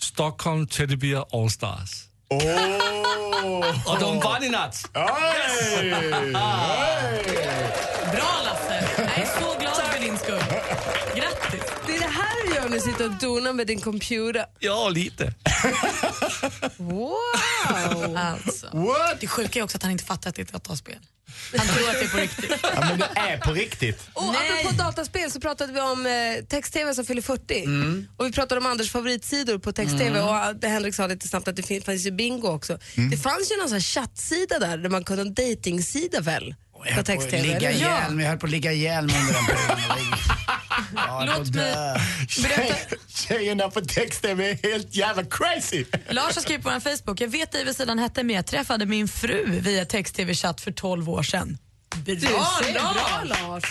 Speaker 9: Stockholm Teddy Bear All Stars. Och de vann i natt!
Speaker 6: Bra Lasse! Jag är så glad för din skull. Grattis!
Speaker 4: Det är det här du gör när du sitter och donar med din computer.
Speaker 9: Ja, lite.
Speaker 4: Wow!
Speaker 6: Alltså. Det sjuka är också att han inte fattar att det är ett dataspel.
Speaker 5: Ja, men det är på riktigt.
Speaker 4: Och apropå dataspel så pratade vi om eh, text-tv som fyller 40.
Speaker 5: Mm.
Speaker 4: Och vi pratade om Anders favoritsidor på text-tv
Speaker 5: Mm.
Speaker 4: och eh, det Henrik sa lite snabbt att det fin- fanns ju bingo också.
Speaker 5: Mm.
Speaker 4: Det fanns ju någon sån här chattsida där, där man kunde en dejtingsida väl?
Speaker 3: Jag
Speaker 4: På
Speaker 3: höll på att
Speaker 4: text-tv. eller?
Speaker 3: ligga ihjäl mig, jag höll på att ligga ihjäl mig under den perioden. Ja, jag höll på att dö.
Speaker 5: Tjej- Tjejerna på text-tv är helt jävla crazy.
Speaker 6: Lars har skrivit på vår Facebook, jag vet dig vad sidan hette men jag träffade min fru via text-tv-chatt för 12 år sedan. Bra
Speaker 4: Du ser, bra,
Speaker 6: Lars!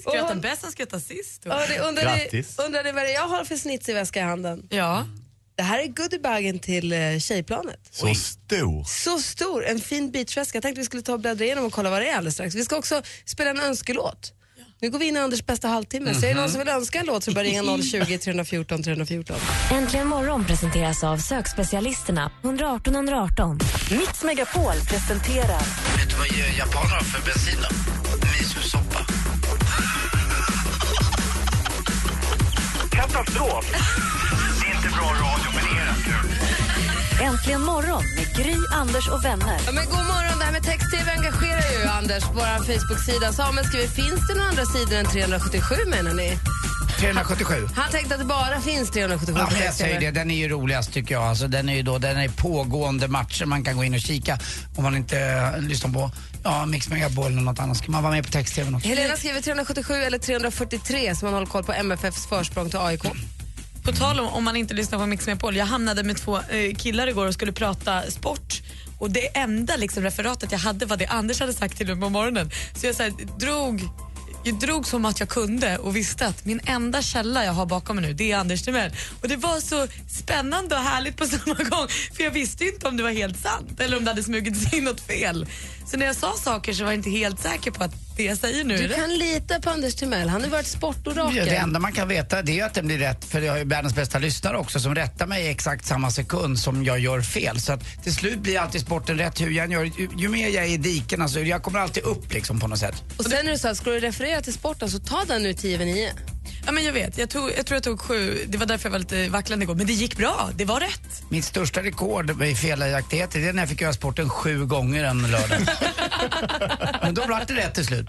Speaker 6: Skrattar bäst, han skrattar sist.
Speaker 4: Ja, det undrar, ni, undrar ni vad det är jag har för snits i väska i handen?
Speaker 6: Ja.
Speaker 4: Det här är goodiebagen till eh, tjejplanet.
Speaker 5: Så stor.
Speaker 4: Så stor, en fin beachväska. Jag tänkte vi skulle ta och bläddra igenom och kolla vad det är alldeles strax. Vi ska också spela en önskelåt. Nu går vi in i Anders bästa halvtimme, så är
Speaker 3: Mhm.
Speaker 4: det någon som vill önska en låt så bara ringa 020 314 314.
Speaker 16: Äntligen morgon presenteras av sökspecialisterna 118 118. Mix Megapol presenterar
Speaker 3: Vet du vad japaner har för bensin då? Miso-soppa.
Speaker 15: Katastrof! Det är inte bra radio, men det är det.
Speaker 16: Äntligen morgon med Gry, Anders och vänner.
Speaker 4: Ja, men god morgon, det här med text-tv engagerar ju Anders på vår Facebook-sida. Samuel skriver, finns det några andra sidor än 377 menar ni?
Speaker 3: 377.
Speaker 4: Han tänkte att det bara finns 377
Speaker 3: Ja,
Speaker 4: på
Speaker 3: men jag säger det,
Speaker 4: text-tv.
Speaker 3: den är ju roligast tycker jag. Alltså, den är ju då, den är pågående matcher man kan gå in och kika om man inte eh, lyssnar på ja, Mix Megapol eller något annat. Ska man vara med på text-tv också?
Speaker 4: Helena skriver 377 eller 343 så man håller koll på MFFs försprång till AIK.
Speaker 6: På tal om, om man inte lyssnar på Mix Megapol, jag hamnade med två eh, killar igår och skulle prata sport och det enda liksom, referatet jag hade var det Anders hade sagt till mig på morgonen. Så jag så här, drog jag drog som att jag kunde och visste att min enda källa jag har bakom mig nu det är Anders Timell. Och det var så spännande och härligt på samma gång för jag visste ju inte om det var helt sant eller om det hade smugit sig in något fel. Så när jag sa saker så var jag inte helt säker på att det jag säger nu är
Speaker 4: Du
Speaker 6: rätt.
Speaker 4: kan lita på Anders Timell, han har varit sportorakel.
Speaker 3: Ja, det enda man kan veta det är att den blir rätt, för jag har ju världens bästa lyssnare också som rättar mig i exakt samma sekund som jag gör fel. Så att till slut blir alltid sporten rätt hur jag än gör. Ju, ju mer jag är i diken, alltså, jag kommer alltid upp liksom på något sätt.
Speaker 4: Och sen är det så här, ska du referera till sporten så ta den nu 10 över 9.
Speaker 6: Ja, men jag vet, jag, tog, jag tror jag tog sju. Det var därför jag var lite vacklande igår. Men det gick bra, det var rätt.
Speaker 3: Mitt största rekord i felaktigheter det är när jag fick göra sporten sju gånger en lördag. Men då blev det rätt till slut.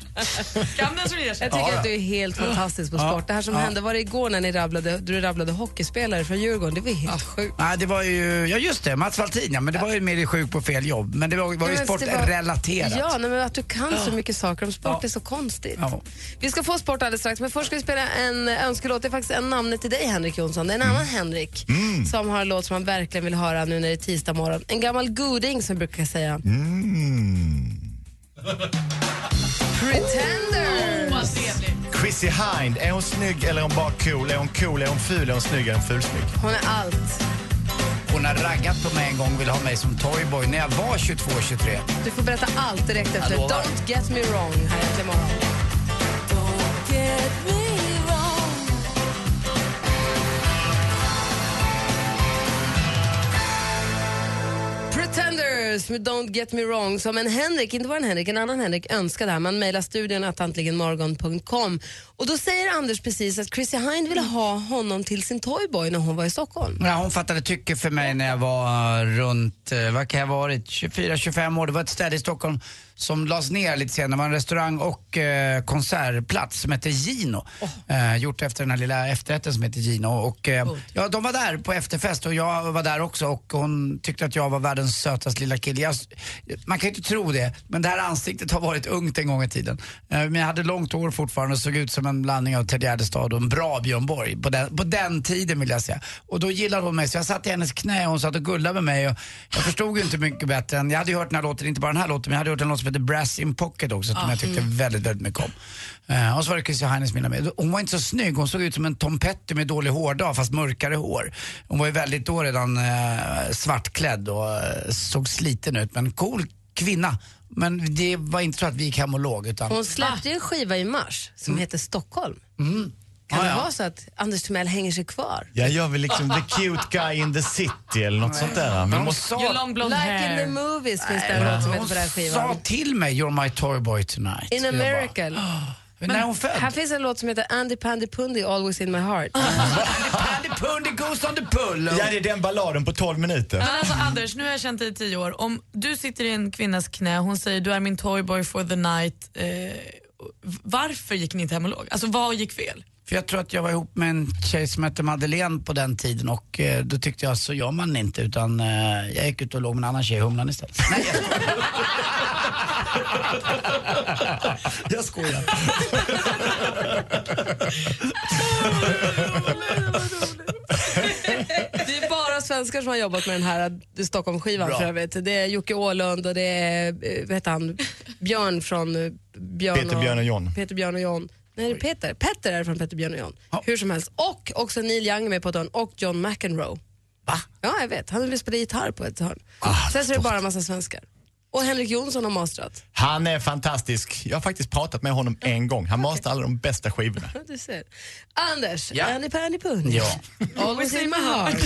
Speaker 6: Gamla som ger sig.
Speaker 4: Jag tycker
Speaker 3: Ja,
Speaker 4: att
Speaker 3: ja.
Speaker 4: du är helt fantastisk på
Speaker 3: Ja.
Speaker 4: sport. Det här som
Speaker 3: Ja.
Speaker 4: hände, var det igår när ni rabblade, du rabblade hockeyspelare från Djurgården? Det var helt sjukt.
Speaker 3: Nej, det var ju, ja just det, Mats Valtin, ja, men det var ju mer i sjuk på fel jobb. Men det var, var ju
Speaker 4: Nej, men det var-
Speaker 3: sportrelaterat.
Speaker 4: Ja, nej, men att du kan så
Speaker 3: Ja.
Speaker 4: mycket saker om sport
Speaker 3: Ja.
Speaker 4: är så konstigt.
Speaker 3: Ja.
Speaker 4: Vi ska få sport alldeles strax, men först ska vi spela en önskelåt. Det är faktiskt en namnet till dig, Henrik Jonsson. Det är en annan
Speaker 3: Mm.
Speaker 4: Henrik
Speaker 8: Mm.
Speaker 4: som har en låt som han verkligen vill höra nu när det är tisdag morgon. En gammal goding som jag brukar säga.
Speaker 3: Mm.
Speaker 4: Pretenders!
Speaker 5: Chrissy Hind, är hon snygg eller är hon bara cool? Är hon cool, är hon ful, är hon snygg, är hon fulsnygg?
Speaker 4: Hon är allt.
Speaker 3: Hon har raggat på mig en gång och ville ha mig som toyboy när jag var 22-23.
Speaker 4: Du får berätta allt direkt efter
Speaker 3: Jag lovar.
Speaker 4: Don't get me wrong här äntligen morgon. Pretenders med Don't Get Me Wrong som en Henrik, inte bara en Henrik, en annan Henrik önskade här. Man mejlar studion att antligenmorgon.com och då säger Anders precis att Chrissy Hind ville ha honom till sin toyboy när hon var i Stockholm.
Speaker 3: Ja, hon fattade tycke för mig när jag var runt, eh, vad kan jag ha varit, 24-25 år. Det var ett ställe i Stockholm som lades ner lite senare. Det var en restaurang och eh, konsertplats som hette Gino. Eh, gjort efter den här lilla efterrätten som heter Gino. Och, eh, ja, de var där på efterfest och jag var där också och hon tyckte att jag var världens sötaste lilla kille. Jag, man kan ju inte tro det, men det här ansiktet har varit ungt en gång i tiden. Eh, men jag hade långt hår fortfarande och såg ut som en blandning av Ted Gärdestad och en bra Björn Borg. På den, på den tiden vill jag säga. Och då gillade hon mig så jag satt i hennes knä och hon satt och gullade med mig. Och jag förstod ju inte mycket bättre än, jag hade ju hört den här låten, inte bara den här låten, men jag hade hört en låt som heter Brass in Pocket också som
Speaker 1: Ah,
Speaker 3: jag tyckte
Speaker 1: mm.
Speaker 3: väldigt, väldigt mycket om. Eh, och så var det Chrissy Hines mina med. Hon var inte så snygg, hon såg ut som en Tom Petty med dålig hårdag fast mörkare hår. Hon var ju väldigt då redan eh, svartklädd och eh, såg sliten ut men cool kvinna. Men det var inte så att vi gick hem och låg utan... Mm.
Speaker 4: Hon släppte ju en skiva i mars som heter Stockholm. Kan
Speaker 5: Ah,
Speaker 4: det
Speaker 5: Mm. ja.
Speaker 4: vara så att Anders Timell hänger sig kvar?
Speaker 5: Ja, jag vill liksom the cute guy in the city eller något sånt där. Vi måste...
Speaker 3: sa- You long blonde
Speaker 4: like
Speaker 3: hair.
Speaker 4: in the movies finns det en
Speaker 3: Nej,
Speaker 4: låt som
Speaker 3: hon
Speaker 4: heter på den här
Speaker 3: sa
Speaker 4: skivan.
Speaker 3: till mig You're my toyboy tonight.
Speaker 4: In a
Speaker 3: Och jag bara,
Speaker 5: Ah,
Speaker 4: miracle.
Speaker 3: Men när hon född?
Speaker 4: Här finns en låt som heter Andy Pandy Pundy Always in my heart.
Speaker 5: Ah.
Speaker 3: Andy Pundy goes on the pull.
Speaker 5: Ja, det är den balladen på 12 minuter.
Speaker 6: Men alltså Anders, nu har jag känt dig i tio år. Om du sitter i en kvinnas knä, hon säger du är min toyboy for the night. Eh, varför gick ni inte hem och låg? Alltså vad gick fel?
Speaker 3: För jag tror att jag var ihop med en tjej som hette Madeleine på den tiden och eh, då tyckte jag så gör man inte utan eh, jag gick ut och låg med en annan tjej i Humlan istället. Nej, jag skojar. jag skojar.
Speaker 4: Det är bara svenskar som har jobbat med den här Stockholmsskivan
Speaker 3: Bra.
Speaker 4: för övrigt. Det är Jocke Åhlund och det är eh, vad heter han, Björn från eh, Björn
Speaker 5: Peter, Björn och John.
Speaker 4: Peter Björn och John. Nej, det är Peter. Petter är från Peter Björn och John. Hur som helst. Och också Neil Young är med på ett hörn och John McEnroe. Va? Ja, jag vet. Han spelade gitarr på ett hörn.
Speaker 5: Ah,
Speaker 4: Sen så är det bara en massa svenskar. Och Henrik Jonsson har mastrat.
Speaker 5: Han är fantastisk. Jag har faktiskt pratat med honom en gång. Han master alla de bästa skivorna.
Speaker 4: Ja, Du ser. Anders,
Speaker 5: Ja.
Speaker 4: Annie Panny Punch.
Speaker 5: Ja.
Speaker 4: Always in my heart.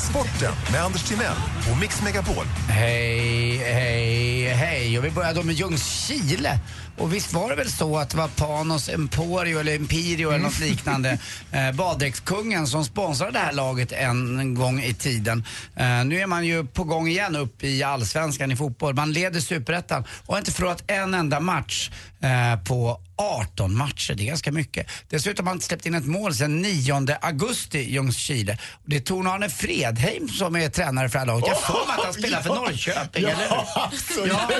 Speaker 11: Sporten med Anders Timell och Mix Megapol.
Speaker 3: Hej, hej, hej. Och vi börjar då med Ljungskile. Och visst var det väl så att det var Panos Emporio eller Empirio eller något liknande, eh, baddäckskungen som sponsrade det här laget en gång i tiden. Eh, nu är man ju på gång igen upp i allsvenskan i fotboll. Man leder superettan och har inte förlorat en enda match eh, på 18 matcher, det är ganska mycket. Dessutom har han inte släppt in ett mål sedan 9 augusti i Ljungskile. Och Det är Torn-Arne Fredheim som är tränare för det här laget. Jag får mig att han spelar för
Speaker 5: Ja.
Speaker 3: Norrköping,
Speaker 5: Ja,
Speaker 3: eller hur?
Speaker 5: absolut.
Speaker 3: Ja,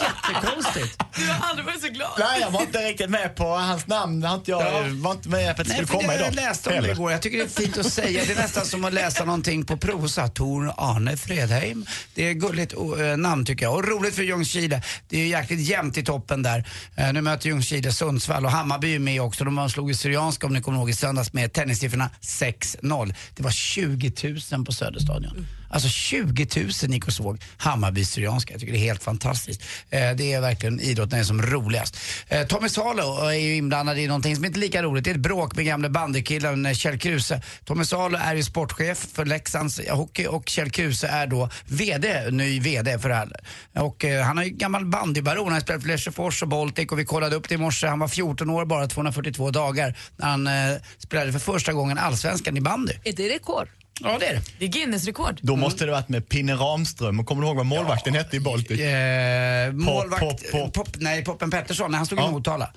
Speaker 3: jättekonstigt.
Speaker 6: Du har aldrig varit så glad.
Speaker 5: Nej, jag var inte riktigt med på hans namn. Har inte jag var inte med på att det skulle
Speaker 3: Nej, för
Speaker 5: komma
Speaker 3: det
Speaker 5: idag.
Speaker 3: Jag läste om det
Speaker 5: Heller.
Speaker 3: igår. Jag tycker det är fint att säga. Det är nästan som att läsa någonting på prosa. Tor Arne Fredheim. Det är gulligt och, eh, namn tycker jag. Och roligt för Ljungskile. Det är ju jäkligt jämnt i toppen där. Eh, nu möter Ljungskile Sundsvall och Hammarby är med också. De slog ju Syrianska om ni kommer ihåg i söndags med tennissiffrorna 6-0. Det var 20 000 på Söderstadion. Alltså 20 000 gick och såg Hammarby Syrianska. Jag tycker det är helt fantastiskt. Eh, det är verkligen idrott när det är som roligast. Eh, Tommy Salo är ju inblandad i någonting som inte är lika roligt. Det är ett bråk med gamle bandykillen eh, Kjell Kruse. Tommy Salo är ju sportchef för Leksands hockey och Kjell Kruse är då VD, ny VD för det här. Och eh, han är ju gammal bandybaron. Han har spelat för Lesjöfors och Baltic och vi kollade upp det i morse. Han var 14 år bara, 242 dagar, när han eh, spelade för första gången allsvenskan i bandy.
Speaker 4: Är det rekord?
Speaker 3: Ja, det är det.
Speaker 6: Det är Guinness-rekord.
Speaker 5: Då måste det varit med Pinne Ramström. Och kommer du ihåg vad målvakten hette i Baltic?
Speaker 3: Eh, målvakt-
Speaker 5: Pop, pop, pop.
Speaker 3: nej, Poppen Pettersson. Nej, han stod i Motala.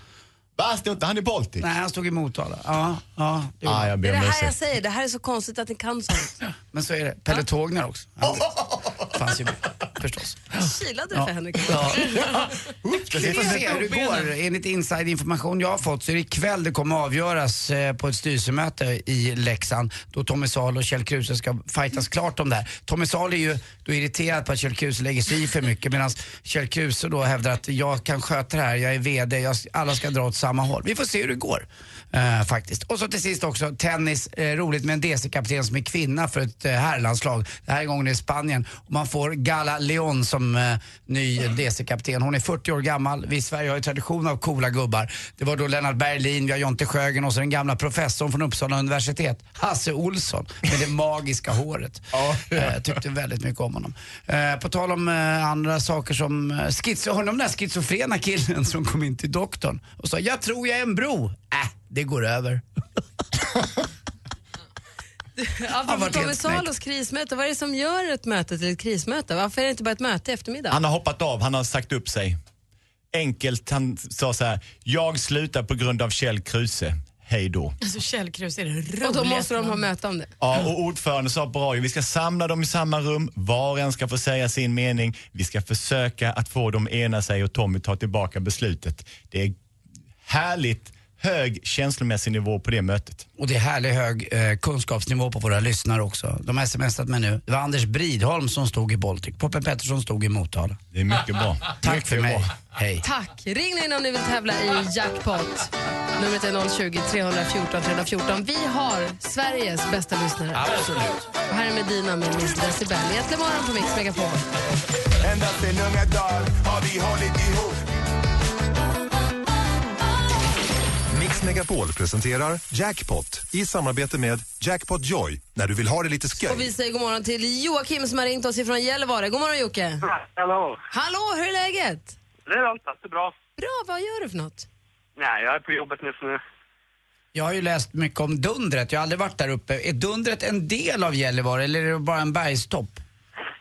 Speaker 5: Va, stod inte han i Baltic?
Speaker 3: Nej, han stod i Motala. Ja, ja. det gjorde
Speaker 5: Ah,
Speaker 3: han.
Speaker 5: jag
Speaker 4: Det
Speaker 5: ber
Speaker 4: är det
Speaker 5: om
Speaker 4: här jag
Speaker 5: ursäkt.
Speaker 4: säger, det här är så konstigt att ni kan sånt.
Speaker 3: Men så är det. Pelle Tågner också. Han fanns ju med, förstås.
Speaker 4: Kilade det
Speaker 3: Ja.
Speaker 4: för Henrik?
Speaker 3: Ja. Vi får se hur det går. Enligt inside-information jag har fått så är det ikväll det kommer avgöras eh, på ett styrelsemöte i Leksand då Tommy Salo och Kjell Kruse ska fightas klart om det här. Tommy Salo är ju då irriterad på att Kjell Kruse lägger sig i för mycket medan Kjell Kruse då hävdar att jag kan sköta det här, jag är VD, jag, alla ska dra åt samma håll. Vi får se hur det går eh, faktiskt. Och så till sist också tennis, eh, roligt med en DC-kapten som är kvinna för ett eh, herrlandslag. Det här är gången i Spanien. Och man får Gala Leon som eh, ny DC-kapten. Hon är 40 år gammal. Vi i Sverige har ju tradition av coola gubbar. Det var då Lennart Berlin, vi har Jonte Sjögren och så den gamla professorn från Uppsala universitet, Hasse Olsson, med det magiska håret. Eh, tyckte väldigt mycket om honom. Eh, på tal om eh, andra saker som eh, schizo- hörde ni om den där schizofrena killen som kom in till doktorn och sa “Jag tror jag är en bro”. Äh, det går över.
Speaker 4: Apropå
Speaker 3: varit
Speaker 4: Tommy
Speaker 3: helt knäckt.
Speaker 4: Salos krismöte, vad är det som gör ett möte till ett krismöte? Varför är det inte bara ett möte i eftermiddag?
Speaker 5: Han har hoppat av, han har sagt upp sig. Enkelt, han sa så här. Jag slutar på grund av Kjell Kruse. Hej då.
Speaker 6: Alltså Kjell Kruse är det roligaste.
Speaker 4: Och då måste de ha möte om det.
Speaker 5: Ja, och ordförande sa på radio, vi ska samla dem i samma rum, var och en ska få säga sin mening. Vi ska försöka att få dem ena sig och Tommy tar tillbaka beslutet. Det är härligt hög känslomässig nivå på det mötet.
Speaker 3: Och det är härlig hög eh, kunskapsnivå på våra lyssnare också. De har smsat mig nu. Det var Anders Bridholm som stod i Baltic. Poppen Pettersson stod i Motala.
Speaker 5: Det är mycket bra.
Speaker 3: Tack
Speaker 5: Mycket
Speaker 3: för mig.
Speaker 5: bra.
Speaker 3: Hej.
Speaker 4: Tack! Ring nu in om ni vill tävla i jackpot. Numret är 020 314 314. Vi har Sveriges bästa lyssnare.
Speaker 15: Absolut.
Speaker 4: Och här är Medina med Miss Decibel. I Äntligen morgon på Mix Megapol.
Speaker 15: Ända sedan unga dagar har vi hållit ihop.
Speaker 11: Mix Megapol presenterar Jackpot i samarbete med Jackpot Joy när du vill ha det lite
Speaker 4: Och vi
Speaker 11: skoj.
Speaker 4: säger god morgon till Joakim som har ringt oss ifrån Gällivare. God morgon Jocke!
Speaker 17: Hallå!
Speaker 4: Hallå, hur är läget?
Speaker 17: Det är lugnt, det är bra.
Speaker 4: Bra, vad gör du för något?
Speaker 17: Nej, jag är på jobbet just nu.
Speaker 3: Jag har ju läst mycket om Dundret, jag har aldrig varit där uppe. Är Dundret en del av Gällivare eller är det bara en bergstopp?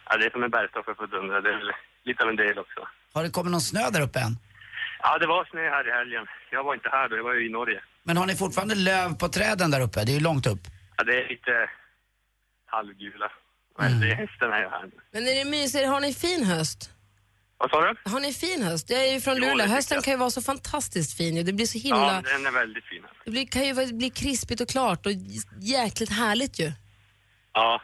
Speaker 17: Ja, det är som en bergstoppe på Dundra. Det är väl lite av en del också.
Speaker 3: Har det kommit någon snö där uppe än?
Speaker 17: Ja, det var snö här i helgen. Jag var inte här då, jag var ju i Norge.
Speaker 3: Men har ni fortfarande löv på träden där uppe? Det är ju långt upp.
Speaker 17: Ja, det är lite halvgula. Men
Speaker 4: Mm.
Speaker 17: det är hästen är ju här.
Speaker 4: Men är det mysigt? Har ni fin höst?
Speaker 17: Vad sa du?
Speaker 4: Har ni fin höst? Jag är ju från
Speaker 17: Jo, det
Speaker 4: Luleå.
Speaker 17: tycker
Speaker 4: Hösten
Speaker 17: jag.
Speaker 4: kan ju vara så fantastiskt fin ju. Det blir så himla...
Speaker 17: Ja, den är väldigt fin.
Speaker 4: Det blir, kan ju vara- bli krispigt och klart och j- jäkligt härligt ju.
Speaker 17: Ja.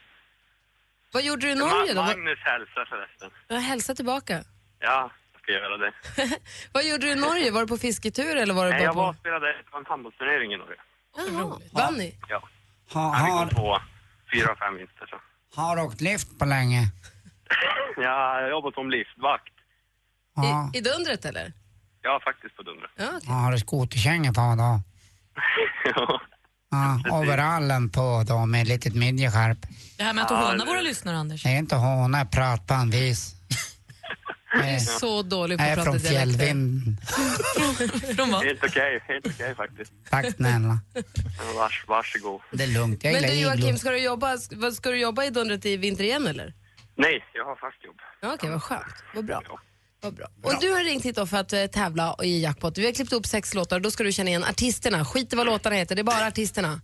Speaker 4: Vad gjorde du i Norge då?
Speaker 17: Ma-
Speaker 4: Vad-
Speaker 17: Magnus hälsar förresten.
Speaker 4: Jag hälsar tillbaka.
Speaker 17: Ja, jag ska göra det.
Speaker 4: Vad gjorde du i Norge? Var du på fisketur eller var du
Speaker 17: Nej,
Speaker 4: bara
Speaker 17: jag
Speaker 4: på... Ah.
Speaker 17: var och spelade på en handbollsturnering i Norge.
Speaker 4: Jaha, vann ni?
Speaker 17: Ja.
Speaker 3: Ha,
Speaker 17: Jag
Speaker 3: har,
Speaker 17: fick två, fyra, och fem vinster så.
Speaker 3: har åkt lift på länge.
Speaker 17: Ja, jag jobbar som liftvakt.
Speaker 3: Ja.
Speaker 4: I Dundret eller?
Speaker 17: Ja, faktiskt på Dundra.
Speaker 4: Ja,
Speaker 3: Ja, har du skoterkänga på då? Ja, overallen på då med ett litet midjeskärp.
Speaker 6: Det här med att
Speaker 3: Ja,
Speaker 6: håna
Speaker 3: det-
Speaker 6: våra lyssnare, Anders.
Speaker 3: Det är inte hona, jag pratar på en vis.
Speaker 4: Du är så dålig på
Speaker 3: Jag
Speaker 4: att
Speaker 3: är
Speaker 4: prata
Speaker 3: från
Speaker 4: dialekter.
Speaker 3: fjällvinden.
Speaker 17: Helt okej, helt okej faktiskt.
Speaker 3: Tack snälla.
Speaker 17: Ja, Vars, varsågod.
Speaker 3: Det är lugnt, jag
Speaker 4: Men
Speaker 3: gillar
Speaker 4: du Joakim,
Speaker 3: iglo.
Speaker 4: ska du, jobba, ska, ska du jobba i Dundret i vinter igen eller?
Speaker 17: Nej, jag har fast jobb.
Speaker 4: Ja, Okej, vad skönt. Vad bra. Vad bra. Och du har ringt hit då för att eh, tävla i jackpot. Vi har klippt upp sex låtar och då ska du känna igen artisterna. Skit i vad låtarna heter, det är bara artisterna.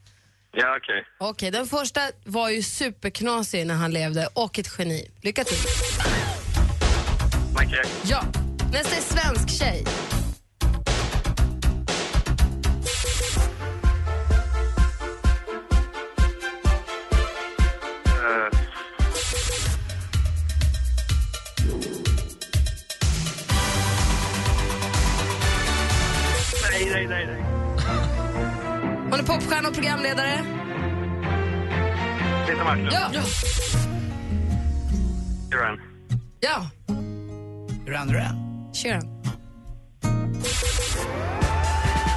Speaker 17: Ja, okej.
Speaker 4: Okej, den första var ju superknasig när han levde och ett geni. Lycka till.
Speaker 17: Michael Jackson.
Speaker 4: Ja. Nästa är svensk tjej.
Speaker 17: eh, Nej, nej, nej, nej.
Speaker 4: Hon är popstjärna och programledare.
Speaker 17: Peter Marklund.
Speaker 4: Ja!
Speaker 17: Duran.
Speaker 4: Ja!
Speaker 3: Duran Duran.
Speaker 4: Sharon.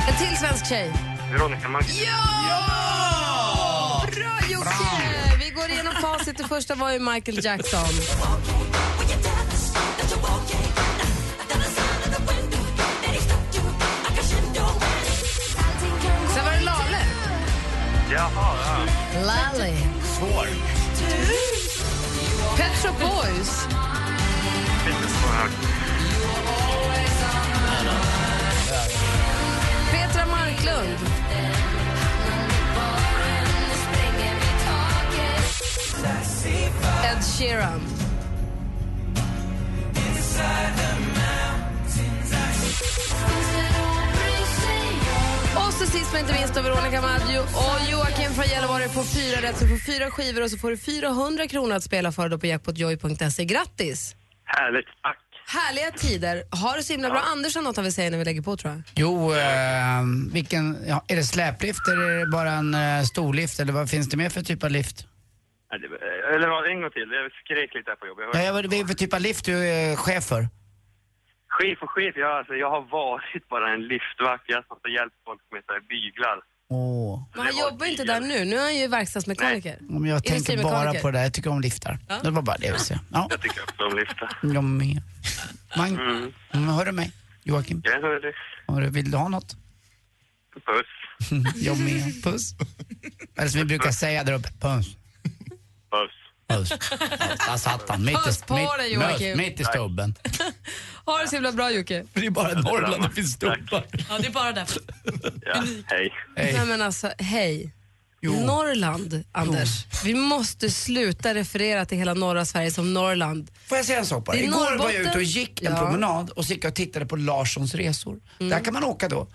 Speaker 4: En till svensk tjej.
Speaker 17: Veronica Maggio.
Speaker 4: Ja! Bra Jocke! Vi går igenom facit. Det första var ju Michael Jackson. Sen var det Lale.
Speaker 17: Jaha, ja.
Speaker 4: Lally.
Speaker 17: Svår.
Speaker 4: Pet Shop Boys.
Speaker 17: Lite svår.
Speaker 4: Petra Marklund. Ed Sheeran. Och så sist men inte minst då Veronica Maggio och Joakim från Gällivare på fyra rätt. Så får du fyra skivor och så får du 400 kronor att spela för då på jackpotjoy.se. Grattis!
Speaker 17: Härligt. Tack.
Speaker 4: Härliga tider. Ha det så himla bra. Anders har något han vill säga när vi lägger på tror jag.
Speaker 3: Jo, eh, vilken, ja, är det släplift eller är det bara en eh, storlift eller vad finns det mer för typ av lift?
Speaker 17: Nej, det- Eller vad, en gång till. Jag skrek lite här på jobbet. Jag
Speaker 3: Ja, jag
Speaker 17: hörde-
Speaker 3: vet- vad är det för typ av lift du är chef för?
Speaker 17: Chef och chef, jag, alltså, jag har varit bara en liftvakt. Jag har stått och hjälpt folk med så här byglar.
Speaker 3: Åh.
Speaker 4: Men han jobbar inte där nu. Nu är han ju verkstadsmekaniker.
Speaker 3: Om jag tänker bara
Speaker 4: Industrimekaniker.
Speaker 3: på det där, jag tycker om liftar. Det var bara det jag ville säga. Ja,
Speaker 17: Jag tycker också om liftar.
Speaker 3: jag med. Mang,
Speaker 17: Mm.
Speaker 3: mm. hör du mig? Joakim,
Speaker 17: Jag hör dig.
Speaker 3: hör du, vill du ha något?
Speaker 17: Puss.
Speaker 3: jag med. Puss. Eller som vi brukar säga där uppe, puss.
Speaker 17: Puss.
Speaker 3: Puss. Ja, Där satt han, mitt
Speaker 4: Puss
Speaker 3: i,
Speaker 4: på dig,
Speaker 3: mitt,
Speaker 4: Joakim.
Speaker 3: mös, mitt i stubben.
Speaker 4: Ha det så himla bra Jocke.
Speaker 3: Det är bara Norrland det finns stubbar.
Speaker 6: Ja, det är bara därför.
Speaker 17: Ja, hej.
Speaker 4: Nej men alltså, hej. Norrland, Anders. Vi måste sluta referera till hela norra Sverige som Norrland.
Speaker 3: Får jag säga en sak bara?
Speaker 4: Det är
Speaker 3: Igår var jag
Speaker 4: Norrbotten.
Speaker 3: ute och gick en
Speaker 4: Ja. Mm.
Speaker 3: promenad och så gick jag och tittade på Larssons resor. Där kan man åka då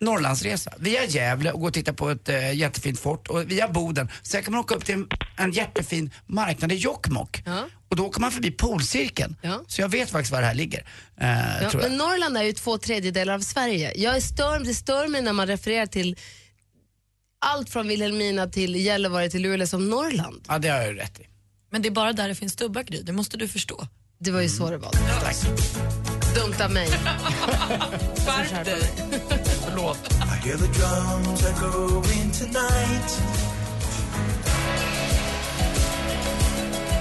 Speaker 3: Norrlandsresa via Gävle och gå och titta på ett eh, jättefint fort och via Boden. Sen kan man åka upp till en, en jättefin marknad i Jokkmokk och då kommer man förbi polcirkeln. Så jag vet faktiskt var det här ligger. Eh,
Speaker 4: Ja,
Speaker 3: tror jag.
Speaker 4: men Norrland är ju två tredjedelar av Sverige. Jag är stör, det stör mig när man refererar till allt från Vilhelmina till Gällivare till Luleå som Norrland.
Speaker 3: Ja, det har jag ju rätt i.
Speaker 6: Men det är bara där det finns stubbar, Gry. Det måste du förstå.
Speaker 4: Det var ju så det var.
Speaker 3: Tack. Mm.
Speaker 4: Dumt av mig.
Speaker 9: Förlåt.
Speaker 15: I hear the drums echoing tonight.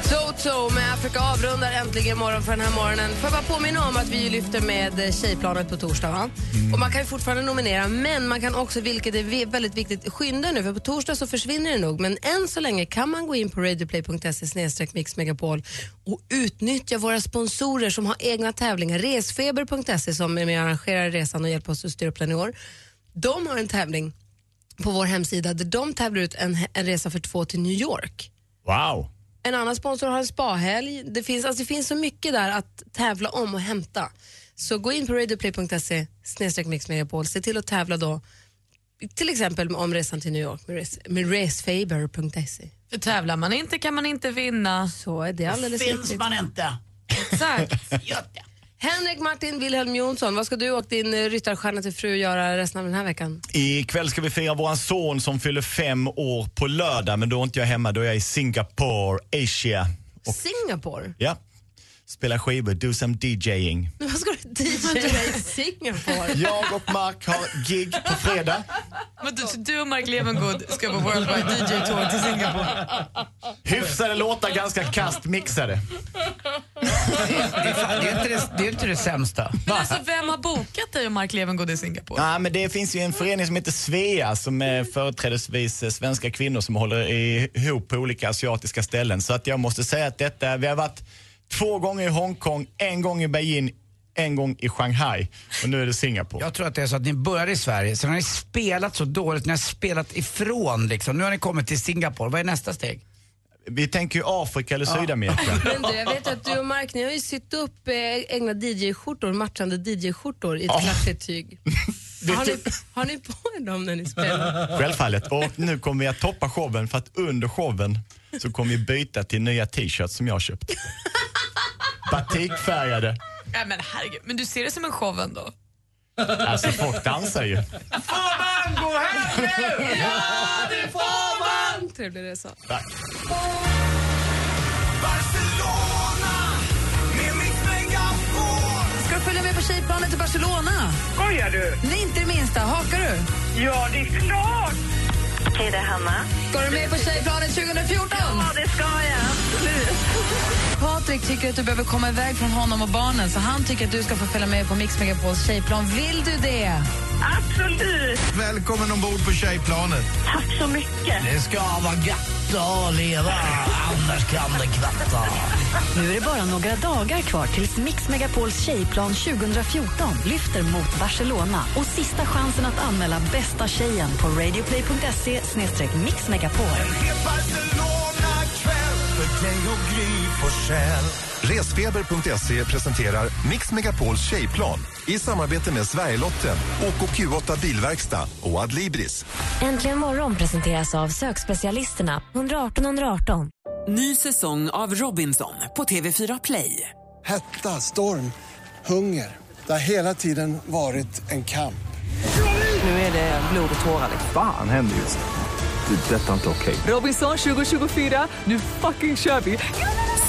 Speaker 4: Toto med Afrika avrundar äntligen morgon för den här morgonen. Får jag bara påminna om att vi ju lyfter med eh, Tjejplanet på torsdag. Va? Och man kan ju fortfarande nominera, men man kan också, vilket är vi- väldigt viktigt, skynda nu för på torsdag så försvinner det nog. Men än så länge kan man gå in på radioplay.se mixmegapol och utnyttja våra sponsorer som har egna tävlingar. Resfeber.se som är med och arrangerar resan och hjälper oss att styra upp den i år. De har en tävling på vår hemsida där de tävlar ut en, en resa för två till New York.
Speaker 5: Wow!
Speaker 4: En annan sponsor har en spahelg. Det finns, alltså det finns så mycket där att tävla om och hämta. Så gå in på radioplay.se snedstreck Mix Megapol. Se till att tävla då. Till exempel om resan till New York med, res, med racefaber.se.
Speaker 6: För tävlar man inte kan man inte vinna.
Speaker 4: Så är det alldeles
Speaker 6: Finns
Speaker 4: riktigt.
Speaker 6: man
Speaker 3: inte.
Speaker 4: Exakt. Henrik Martin Wilhelm Jonsson, vad ska du och din eh, ryttarstjärna till fru göra resten av den här veckan?
Speaker 5: Ikväll ska vi fira våran son som fyller fem år på lördag, men då är inte jag hemma, då är jag i Singapore, Asia. Och,
Speaker 4: Singapore?
Speaker 5: ja, spela skivor, do some DJing.
Speaker 4: Vad ska du DJa i Singapore?
Speaker 5: Jag och Mark har gig på fredag.
Speaker 6: Men du, du och Mark Levengood ska på Worldwide DJ-tour till Singapore.
Speaker 5: Hyfsade låtar, ganska kast mixade.
Speaker 3: Det är, fan, det är, inte, det, det är inte det sämsta.
Speaker 6: Men alltså, vem har bokat dig och Mark Levengood i Singapore?
Speaker 5: Nej, men det finns ju en förening som heter Svea som är företrädesvis eh, svenska kvinnor som håller ihop på olika asiatiska ställen. Så att jag måste säga att detta, vi har varit två gånger i Hongkong, en gång i Beijing, en gång i Shanghai och nu är det Singapore.
Speaker 3: Jag tror att det är så att ni började i Sverige, sen har ni spelat så dåligt, ni har spelat ifrån liksom. Nu har ni kommit till Singapore, vad är nästa steg?
Speaker 5: Vi tänker ju Afrika eller Sydamerika.
Speaker 4: Men du, jag vet att du och Mark, ni har ju sytt upp eh, egna DJ-skjortor, matchande DJ-skjortor i ett
Speaker 5: Ja.
Speaker 4: klatschigt tyg. Har ni, Typ, har ni på er dem när ni spelar?
Speaker 5: Självfallet. Och nu kommer vi att toppa showen för att under showen så kommer vi byta till nya t-shirts som jag har köpt. Batikfärgade.
Speaker 6: Nej, men herregud, men du ser det som en show ändå.
Speaker 5: Alltså folk dansar ju.
Speaker 6: Får man gå hem nu?
Speaker 15: Ja, det får man!
Speaker 4: Trevlig resa.
Speaker 5: Tack.
Speaker 14: Ska du följa med på tjejplanet till Barcelona? Skojar du? Nej, inte det minsta. Hakar du? Ja, det är klart! Okej, det är Hanna.
Speaker 4: Går du med på Tjejplanet 2014?
Speaker 14: Ja, det ska jag. Absolut.
Speaker 4: Patrik
Speaker 14: tycker att du behöver komma iväg från honom och barnen så han tycker att du ska få följa med på Mix Megapols tjejplan. Vill du det? Absolut!
Speaker 10: Välkommen ombord på tjejplanet.
Speaker 14: Tack så mycket.
Speaker 3: Det ska vara gött att leva, annars kan det kvatta.
Speaker 2: Nu är det bara några dagar kvar tills Mix Megapols tjejplan 2014 lyfter mot Barcelona och sista chansen att anmäla bästa tjejen på radioplay.se mixmegapol.
Speaker 11: Resfeber.se presenterar Mix Megapols tjejplan i samarbete med Sverigelotten, OKQ8 Bilverkstad och Adlibris.
Speaker 16: Äntligen morgon presenteras av sökspecialisterna 118 118.
Speaker 1: Ny säsong av Robinson på TV4 Play.
Speaker 18: Hetta, storm, hunger. Det har hela tiden varit en kamp.
Speaker 1: Nu är det blod och tårar. liksom.
Speaker 19: Fan händer just det. Det är detta inte okej.
Speaker 1: Robinson 2024, nu fucking kör vi!